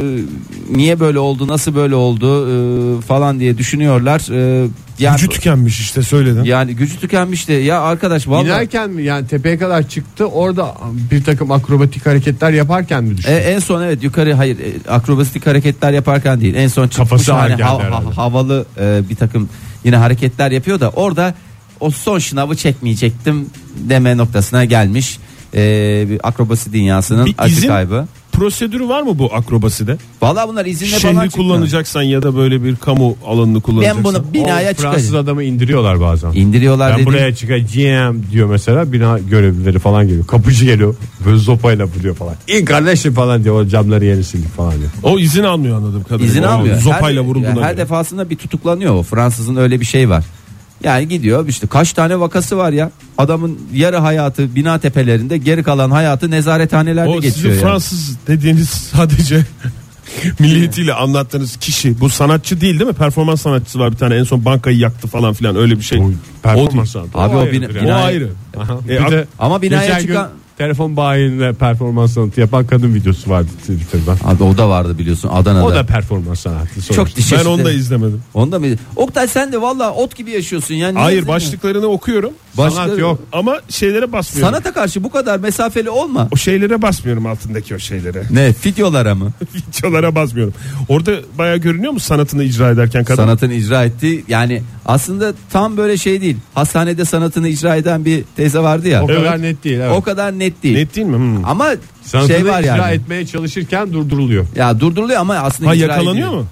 Speaker 5: niye böyle oldu nasıl böyle oldu e, falan diye düşünüyorlar. E, yani,
Speaker 4: Gücü tükenmiş işte söyledin.
Speaker 5: yani gücü tükenmişti ya arkadaş vallahi
Speaker 6: İnerken mi yani tepeye kadar çıktı orada bir takım akrobatik hareketler yaparken mi düştü?
Speaker 5: E, en son evet yukarı hayır e, akrobatik hareketler yaparken değil en son çıkmış
Speaker 6: Kafası ağır
Speaker 5: hani
Speaker 6: geldi
Speaker 5: hav-
Speaker 6: herhalde.
Speaker 5: havalı e, bir takım yine hareketler yapıyor da orada o son şınavı çekmeyecektim deme noktasına gelmiş e, bir akrobasi dünyasının
Speaker 4: Bir
Speaker 5: acı
Speaker 4: izin-
Speaker 5: kaybı.
Speaker 4: Prosedürü var mı bu akrobaside?
Speaker 5: Vallahi bunlar izinle falan
Speaker 4: Şehri
Speaker 5: çıkmıyor.
Speaker 4: kullanacaksan ya da böyle bir kamu alanını
Speaker 5: Ben
Speaker 4: kullanacaksan.
Speaker 5: bunu
Speaker 6: O
Speaker 5: binaya
Speaker 6: Fransız
Speaker 5: çıkacağım.
Speaker 6: adamı indiriyorlar bazen.
Speaker 5: İndiriyorlar
Speaker 6: Ben
Speaker 5: dedi.
Speaker 6: buraya çıkacağım diyor mesela bina görevlileri falan geliyor. Kapıcı geliyor böyle sopayla vuruyor falan. İyi kardeşim falan diyor o camları yeni sildik falan diyor.
Speaker 4: O izin almıyor anladığım kadarıyla.
Speaker 5: İzin
Speaker 4: O
Speaker 5: almıyor.
Speaker 4: Zopayla
Speaker 5: her,
Speaker 4: vurulduğuna
Speaker 5: yani Her
Speaker 4: göre.
Speaker 5: defasında bir tutuklanıyor o. Fransızın öyle bir şey var. Yani gidiyor işte kaç tane vakası var ya. Adamın yarı hayatı bina tepelerinde geri kalan hayatı nezarethanelerde
Speaker 4: O
Speaker 5: geçiyor.
Speaker 4: sizin
Speaker 5: yani.
Speaker 4: Fransız dediğiniz sadece milliyetiyle anlattığınız kişi. Bu sanatçı değil değil mi? Performans sanatçısı var bir tane en son bankayı yaktı falan filan öyle bir şey.
Speaker 6: O performans
Speaker 4: değil.
Speaker 6: sanatı.
Speaker 5: Abi o,
Speaker 4: ayrıdır
Speaker 5: bina-
Speaker 4: yani.
Speaker 5: binaya-
Speaker 4: O ayrı.
Speaker 6: Aha.
Speaker 4: E,
Speaker 6: bir de
Speaker 5: Ama binaya
Speaker 6: geçen
Speaker 5: çıkan
Speaker 6: gün telefon bayinle performans sanatı yapan kadın videosu vardı Twitter'da.
Speaker 5: Abi o da vardı biliyorsun Adana'da.
Speaker 6: O da performans sanatı. sonuçta.
Speaker 5: çok dişi.
Speaker 4: Ben onu da izlemedim.
Speaker 5: Onda mı? Oktay sen de valla ot gibi yaşıyorsun yani. Niye
Speaker 4: Hayır
Speaker 5: izlemiyorsun?
Speaker 4: başlıklarını okuyorum.
Speaker 5: Başlıkları-
Speaker 4: Sanat yok. Ama şeylere basmıyorum.
Speaker 5: Sanata karşı bu kadar mesafeli olma.
Speaker 4: O şeylere basmıyorum altındaki o şeylere.
Speaker 5: Ne? Videolara mı?
Speaker 4: Videolara basmıyorum. Orada bayağı görünüyor mu sanatını icra ederken kadın?
Speaker 5: sanatını icra etti. Yani aslında tam böyle şey değil. Hastanede sanatını icra eden bir teyze vardı ya.
Speaker 6: O
Speaker 5: O,
Speaker 6: kadar
Speaker 4: Evet.
Speaker 6: net değil. Evet.
Speaker 5: kadar net değil.
Speaker 4: Net değil mi? Hmm.
Speaker 5: Ama
Speaker 6: Sanatını
Speaker 5: şey var
Speaker 6: icra
Speaker 5: yani.
Speaker 6: etmeye çalışırken durduruluyor.
Speaker 5: Ya durduruluyor ama aslında
Speaker 4: Ha
Speaker 5: icra
Speaker 4: yakalanıyor
Speaker 5: ediyor.
Speaker 4: mu?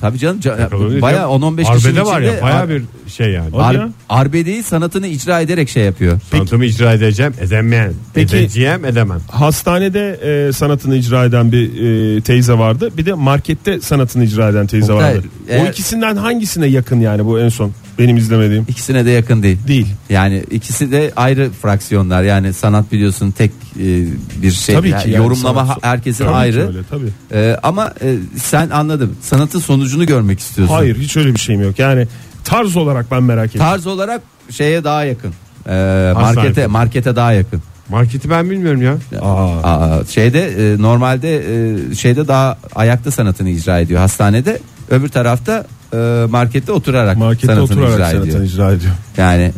Speaker 5: Tabii canım. ca-
Speaker 6: Yakalanıyor.
Speaker 5: bayağı 10-15 kişinin içinde.
Speaker 6: Arbede var ya
Speaker 5: ar-
Speaker 6: baya bir şey yani.
Speaker 4: Hadi ya.
Speaker 5: ar- arbedeyi sanatını icra ederek şey yapıyor.
Speaker 6: Sanatımı icra edeceğim edemeyen.
Speaker 4: Peki-
Speaker 6: Edeceğim edemem.
Speaker 4: Hastanede e, sanatını icra eden bir e, teyze vardı. Bir de markette sanatını icra eden teyze
Speaker 5: Oktay, e-
Speaker 4: vardı. O
Speaker 5: eğer-
Speaker 4: ikisinden hangisine yakın yani bu en son benim izlemediğim?
Speaker 5: İkisine de yakın değil.
Speaker 4: Değil.
Speaker 5: Yani ikisi de ayrı fraksiyonlar. Yani sanat biliyorsun tek e, bir şey.
Speaker 4: Tabii ki
Speaker 5: Yani
Speaker 4: yani
Speaker 5: yorumlama
Speaker 4: sanat-
Speaker 5: ha- herkesin
Speaker 4: Tabii ki
Speaker 5: ayrı.
Speaker 4: öyle, tabii.
Speaker 5: E, ama e, sen anladım. Sanatın sonucunu görmek istiyorsun.
Speaker 4: Hayır hiç öyle bir şeyim yok. Yani tarz olarak ben merak ettim.
Speaker 5: Tarz olarak şeye daha yakın. E, markete
Speaker 6: sahibi.
Speaker 5: markete daha yakın.
Speaker 6: Marketi ben bilmiyorum ya.
Speaker 5: Aa, şeyde e, normalde e, şeyde daha ayakta sanatını icra ediyor hastanede. Öbür tarafta e, markette oturarak
Speaker 4: Markette
Speaker 5: sanatını
Speaker 4: oturarak
Speaker 5: icra ediyor.
Speaker 4: sanatını icra ediyor.
Speaker 5: Yani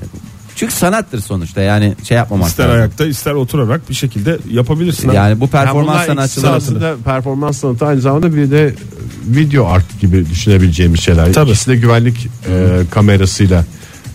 Speaker 5: çünkü sanattır sonuçta yani şey yapmamak
Speaker 4: İster
Speaker 5: lazım.
Speaker 4: ayakta ister oturarak bir şekilde yapabilirsin. abi.
Speaker 5: Yani bu
Speaker 6: bunlar
Speaker 5: performans
Speaker 6: ikisi
Speaker 5: sanatçıları
Speaker 6: aslında performans sanatı aynı zamanda bir de video art gibi düşünebileceğimiz şeyler.
Speaker 4: Tabii.
Speaker 6: İkisi de güvenlik e, kamerasıyla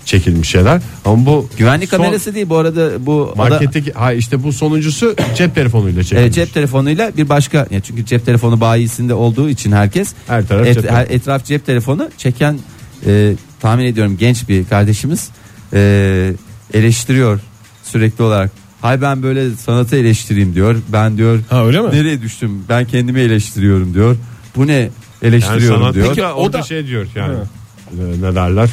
Speaker 6: çekilmiş şeyler. Ama bu
Speaker 5: güvenlik
Speaker 6: son-
Speaker 5: kamerası değil bu arada bu ada-
Speaker 6: marketteki ha işte bu sonuncusu cep telefonuyla çekilmiş.
Speaker 5: E, cep telefonuyla bir başka ya çünkü cep telefonu bayisinde olduğu için herkes
Speaker 6: Her taraf cep telefonu.
Speaker 5: her- etraf cep telefonu çeken e, tahmin ediyorum genç bir kardeşimiz e, eleştiriyor sürekli olarak. Hay ben böyle sanatı eleştireyim diyor. Ben diyor
Speaker 4: Ha öyle mi?
Speaker 5: nereye düştüm? Ben kendimi eleştiriyorum diyor. Bu ne eleştiriyorum
Speaker 6: sanat-
Speaker 5: diyor.
Speaker 6: Peki, o da
Speaker 4: da-
Speaker 6: şey diyor yani. e, ne derler?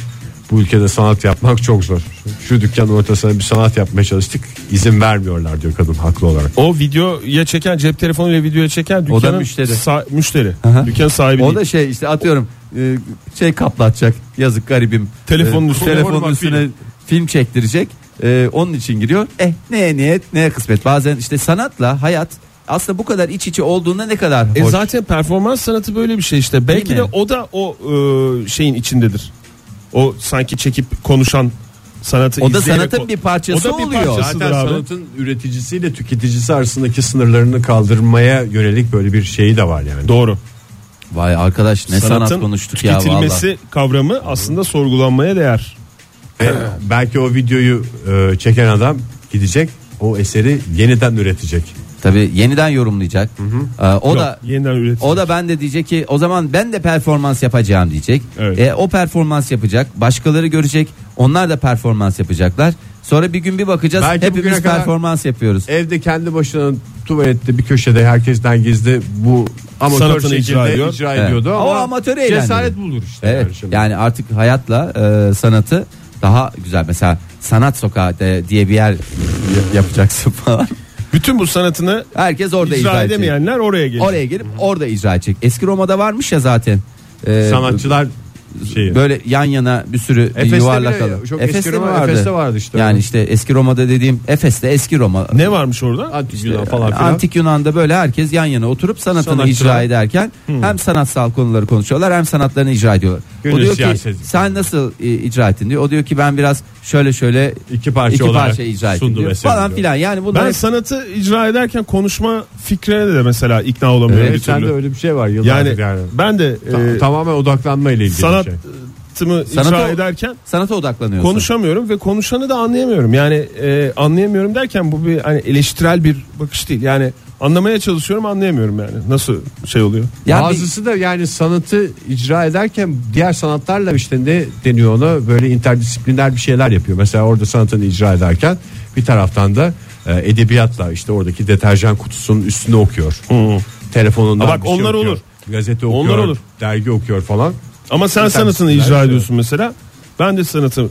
Speaker 6: Bu ülkede sanat yapmak çok zor. Şu dükkanın ortasına bir sanat yapmaya çalıştık. izin vermiyorlar diyor kadın haklı olarak.
Speaker 4: O videoya çeken cep telefonuyla videoya çeken dükkanın
Speaker 5: O da müşteri.
Speaker 4: sa- müşteri.
Speaker 5: Aha.
Speaker 4: Dükkan sahibi
Speaker 5: O
Speaker 4: değil.
Speaker 5: da şey işte atıyorum e, şey kaplatacak yazık garibim.
Speaker 4: Telefonun
Speaker 5: E,
Speaker 4: üstüne
Speaker 5: telefonun
Speaker 4: vurma
Speaker 5: üstüne film, çektirecek. E, onun için giriyor. Eh neye niyet neye kısmet. Bazen işte sanatla hayat aslında bu kadar iç içe olduğunda ne kadar
Speaker 4: E
Speaker 5: hoş.
Speaker 4: zaten performans sanatı böyle bir şey işte. Belki
Speaker 5: mi?
Speaker 4: de o da o e, şeyin içindedir. O sanki çekip konuşan sanatı
Speaker 5: O da
Speaker 4: izleyerek
Speaker 5: sanatın
Speaker 4: o-
Speaker 5: bir parçası
Speaker 4: o da bir
Speaker 5: oluyor.
Speaker 4: parçası.
Speaker 6: Zaten
Speaker 4: abi.
Speaker 6: sanatın üreticisiyle tüketicisi arasındaki sınırlarını kaldırmaya yönelik böyle bir şeyi de var yani.
Speaker 4: Doğru.
Speaker 5: Vay arkadaş ne sanat
Speaker 4: Sanatın
Speaker 5: konuştuk ya
Speaker 4: tüketilmesi
Speaker 5: valla.
Speaker 4: kavramı aslında sorgulanmaya değer.
Speaker 6: Ve belki o videoyu e, çeken adam gidecek o eseri yeniden üretecek.
Speaker 5: Tabii yeniden yorumlayacak. E, o
Speaker 4: Yok,
Speaker 5: da
Speaker 4: yeniden üretici.
Speaker 5: O da ben de diyecek ki o zaman ben de performans yapacağım diyecek.
Speaker 4: Evet.
Speaker 5: E, o performans yapacak. Başkaları görecek. Onlar da performans yapacaklar. Sonra bir gün bir bakacağız
Speaker 6: Belki bugüne
Speaker 5: hepimiz
Speaker 6: kadar-
Speaker 5: performans yapıyoruz.
Speaker 6: Evde kendi başına tuvalette bir köşede herkesten gizli bu amatör
Speaker 4: Sanatını
Speaker 6: şekilde
Speaker 4: icra
Speaker 6: icra,
Speaker 4: ediyor.
Speaker 5: Evet.
Speaker 6: ediyordu
Speaker 5: Ama
Speaker 6: ama,
Speaker 5: amatörü eğlendiriyor.
Speaker 6: cesaret bulur işte.
Speaker 5: Evet.
Speaker 6: şimdi.
Speaker 5: Yani artık hayatla e, sanatı daha güzel. Mesela sanat sokağı de- diye bir yer y- yapacaksın falan.
Speaker 4: Bütün bu sanatını
Speaker 5: Herkes orada
Speaker 4: icra
Speaker 5: icra edecek.
Speaker 4: edemeyenler oraya gelir.
Speaker 5: Oraya gelip orada icra edecek. Eski Roma'da varmış ya zaten. E,
Speaker 6: sanatçılar şeyi.
Speaker 5: Böyle yan yana bir sürü
Speaker 6: Efes'te
Speaker 5: yuvarlak
Speaker 6: bile
Speaker 5: alan.
Speaker 6: çok
Speaker 5: Efes'te
Speaker 6: eski
Speaker 5: mi
Speaker 6: Roma, Efes'te vardı işte.
Speaker 5: Yani işte eski Roma'da dediğim Efes'te eski Roma.
Speaker 4: Ne varmış orada?
Speaker 6: Antik Yunan falan filan.
Speaker 5: Ee, Antik Yunan'da böyle herkes yan yana oturup sanatını
Speaker 6: Sanatçılar. Hmm.
Speaker 5: icra ederken hem sanatsal konuları konuşuyorlar hem sanatlarını icra ediyorlar.
Speaker 6: Gönül
Speaker 5: o diyor ki
Speaker 6: siyaset.
Speaker 5: sen nasıl e, icra ettin diyor. O diyor ki ben biraz şöyle şöyle
Speaker 6: İki parça
Speaker 5: iki
Speaker 6: olarak
Speaker 5: parça icra ettim
Speaker 6: sundum
Speaker 5: diyor.
Speaker 6: eserimi
Speaker 5: Falan
Speaker 6: diyor.
Speaker 5: filan yani
Speaker 4: Ben
Speaker 5: bunlar
Speaker 4: sanatı icra ederken konuşma fikrine de mesela ikna olamıyorum bir
Speaker 6: Evet, sende
Speaker 4: türlü.
Speaker 6: öyle bir şey var yıllardır
Speaker 4: Yani,
Speaker 6: yani.
Speaker 4: ben de e,
Speaker 6: Ta- tamamen odaklanma ile ilgili bir şey.
Speaker 4: sanatımı icra
Speaker 5: Sanata-
Speaker 4: ederken
Speaker 5: sanata odaklanıyorsun.
Speaker 4: konuşamıyorum ve konuşanı da anlayamıyorum. Yani e, anlayamıyorum derken bu bir hani eleştirel bir bakış değil. Yani anlamaya çalışıyorum anlayamıyorum yani. Nasıl şey oluyor?
Speaker 5: Yani bir-
Speaker 6: Bazısı da yani sanatı icra ederken diğer sanatlarla işte ne deniyor ona böyle interdisipliner bir şeyler yapıyor. Mesela orada sanatını icra ederken bir taraftan da e, edebiyatla işte oradaki deterjan kutusunun üstüne okuyor.
Speaker 4: Hmm.
Speaker 6: Telefonundan
Speaker 4: Ha bak
Speaker 6: bir şey
Speaker 4: onlar
Speaker 6: okuyor.
Speaker 4: olur.
Speaker 6: Gazete okuyor.
Speaker 4: Onlar olur.
Speaker 6: Dergi okuyor falan.
Speaker 4: Ama sen
Speaker 6: Efendim,
Speaker 4: sanatını
Speaker 6: sizler
Speaker 4: icra
Speaker 6: işte.
Speaker 4: ediyorsun mesela. Ben de sanatı e,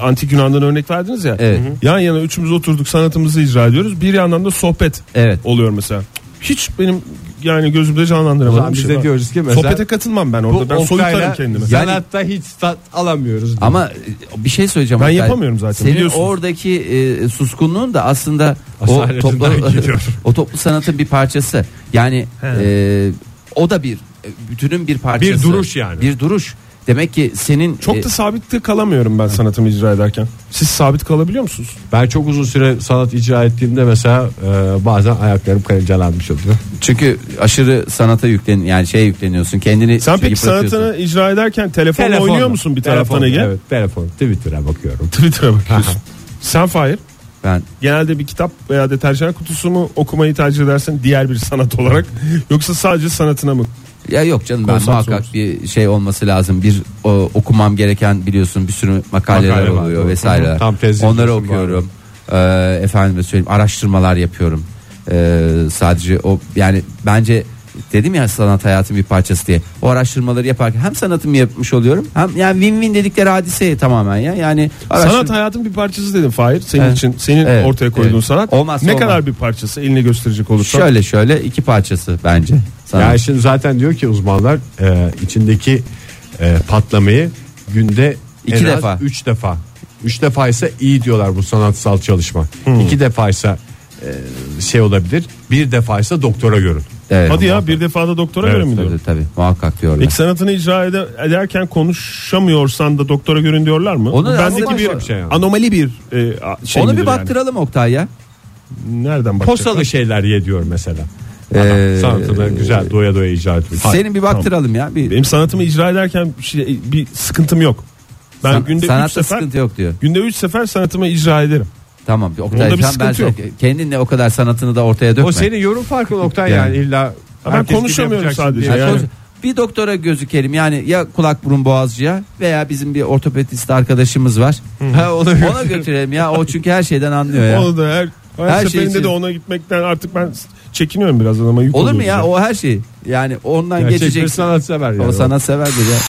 Speaker 4: antik Yunan'dan örnek verdiniz ya.
Speaker 5: Evet.
Speaker 4: Hı hı. Yan yana üçümüz oturduk sanatımızı icra ediyoruz. Bir yandan da sohbet
Speaker 5: Evet.
Speaker 4: oluyor mesela. Hiç benim yani gözümde
Speaker 6: O zaman
Speaker 4: canlandıramadım.
Speaker 6: biz
Speaker 4: şey
Speaker 6: de
Speaker 4: var.
Speaker 6: diyoruz ki mesela-
Speaker 4: Sohbete katılmam ben
Speaker 6: Bu
Speaker 4: orada. Ben soyutlarım
Speaker 6: Oktay'la
Speaker 4: kendimi.
Speaker 6: Sanatta hiç tat alamıyoruz.
Speaker 5: Ama e, bir şey söyleyeceğim.
Speaker 4: Ben
Speaker 5: Oktay.
Speaker 4: yapamıyorum zaten,
Speaker 5: Senin
Speaker 4: biliyorsun.
Speaker 5: oradaki e, suskunluğun da aslında o
Speaker 6: Asaletinden
Speaker 5: toplu,
Speaker 6: geliyor.
Speaker 5: o toplu sanatın bir parçası. Yani e, o da bir e, bütünün bir parçası.
Speaker 6: Bir duruş yani.
Speaker 5: Bir duruş. Demek ki senin
Speaker 4: Çok
Speaker 5: e,
Speaker 4: da sabitte kalamıyorum ben sanatımı icra ederken. Siz sabit kalabiliyor musunuz?
Speaker 6: Ben çok uzun süre sanat icra ettiğimde mesela e, bazen ayaklarım karıncalanmış oluyor.
Speaker 5: çünkü aşırı sanata yüklen yani şey yükleniyorsun. Kendini şey
Speaker 4: Sen peki
Speaker 5: yıpratıyorsun.
Speaker 4: sanatını icra ederken telefonla
Speaker 6: Telefonla.
Speaker 4: oynuyor musun bir taraftan
Speaker 6: Telefonla,
Speaker 4: Ege?
Speaker 6: Evet telefon Twitter'a bakıyorum.
Speaker 4: Twitter'a bakıyorsun. Sen Fahir
Speaker 5: ben
Speaker 4: genelde bir kitap veya deterjan kutusu mu okumayı tercih edersin diğer bir sanat olarak yoksa sadece sanatına mı?
Speaker 5: Ya yok canım ben
Speaker 4: Konsantre
Speaker 5: muhakkak
Speaker 4: olursun.
Speaker 5: bir şey olması lazım. Bir o, okumam gereken biliyorsun bir sürü makaleler
Speaker 6: Makale var,
Speaker 5: oluyor
Speaker 6: doğru. Hı
Speaker 5: vesaire.
Speaker 6: hı, tam tez
Speaker 5: Onları
Speaker 6: yazıyorsun
Speaker 5: okuyorum. Ee, efendime söyleyeyim araştırmalar yapıyorum. Ee, sadece o yani bence dedim ya sanat hayatın bir parçası diye. O araştırmaları yaparken hem sanatımı yapmış oluyorum hem yani win-win dedikleri hadise tamamen ya. Yani
Speaker 4: Sanat hayatın bir parçası dedim Fahir senin
Speaker 5: Evet.
Speaker 4: için senin
Speaker 5: Evet,
Speaker 4: ortaya koyduğun
Speaker 5: evet.
Speaker 4: sanat.
Speaker 5: Olmazsa
Speaker 4: ne
Speaker 5: olmaz.
Speaker 4: kadar bir parçası elini gösterecek olursan.
Speaker 5: şöyle şöyle iki parçası bence. Sanat.
Speaker 6: Ya şimdi zaten diyor ki uzmanlar e, içindeki e, patlamayı günde
Speaker 5: İki
Speaker 6: en az
Speaker 5: defa.
Speaker 6: üç defa. Üç defa ise iyi diyorlar bu
Speaker 5: Hmm.
Speaker 6: sanatsal çalışma. İki defa ise e, şey olabilir. Bir defa ise doktora görün.
Speaker 5: Evet.
Speaker 4: Hadi ya bir defada doktora
Speaker 5: Evet,
Speaker 4: göre mi diyor?
Speaker 5: tabii, tabii, muhakkak diyorlar.
Speaker 4: Peki sanatını icra ede- ederken konuşamıyorsan da doktora görün diyorlar mı?
Speaker 5: Onu-
Speaker 4: Bu Bendeki
Speaker 5: onu
Speaker 4: bir
Speaker 5: başka-
Speaker 6: şey yani.
Speaker 4: anomali bir e, a- şey
Speaker 5: Onu
Speaker 4: midir
Speaker 5: bir
Speaker 4: yani?
Speaker 5: baktıralım Oktay ya.
Speaker 4: Nereden bakacak?
Speaker 6: Posalı şeyler ye diyor mesela.
Speaker 5: Ee,
Speaker 6: Sanatını güzel doya doya icra etmiş.
Speaker 5: Senin bir baktıralım ya. Bir,
Speaker 4: Benim sanatımı icra ederken bir, şey, bir sıkıntım yok. Ben
Speaker 5: san-
Speaker 4: günde 3
Speaker 5: sanatta
Speaker 4: sefer
Speaker 5: sıkıntı yok diyor.
Speaker 4: günde 3 sefer sanatımı icra ederim.
Speaker 5: Tamam Oktay
Speaker 4: Onda bir
Speaker 5: sen ben e,
Speaker 4: sıkıntı yok.
Speaker 5: kendinle o kadar sanatını da ortaya dökme.
Speaker 6: O senin yorum farkın Oktay yani, illa.
Speaker 4: ben
Speaker 6: herkes gibi
Speaker 4: konuşamıyorum
Speaker 6: yapacaksın
Speaker 4: sadece
Speaker 6: diye.
Speaker 5: Yani
Speaker 4: yani.
Speaker 5: sonuç- Bir doktora gözükelim yani ya kulak burun boğazcıya veya bizim bir ortopedist arkadaşımız var.
Speaker 6: Ha, onu
Speaker 5: Ona götürelim ya o çünkü her şeyden anlıyor ya.
Speaker 4: Onu da her, her,
Speaker 5: Her şey
Speaker 4: seferinde
Speaker 5: için.
Speaker 4: de ona gitmekten artık ben s- çekiniyorum biraz adama yük
Speaker 5: Olur mu
Speaker 4: oluyorum
Speaker 5: ya
Speaker 4: ben.
Speaker 5: o her şey yani ondan
Speaker 6: Gerçek bir
Speaker 5: geçeceksin.
Speaker 6: sanatsever yani.
Speaker 5: O sanatseverdir ya.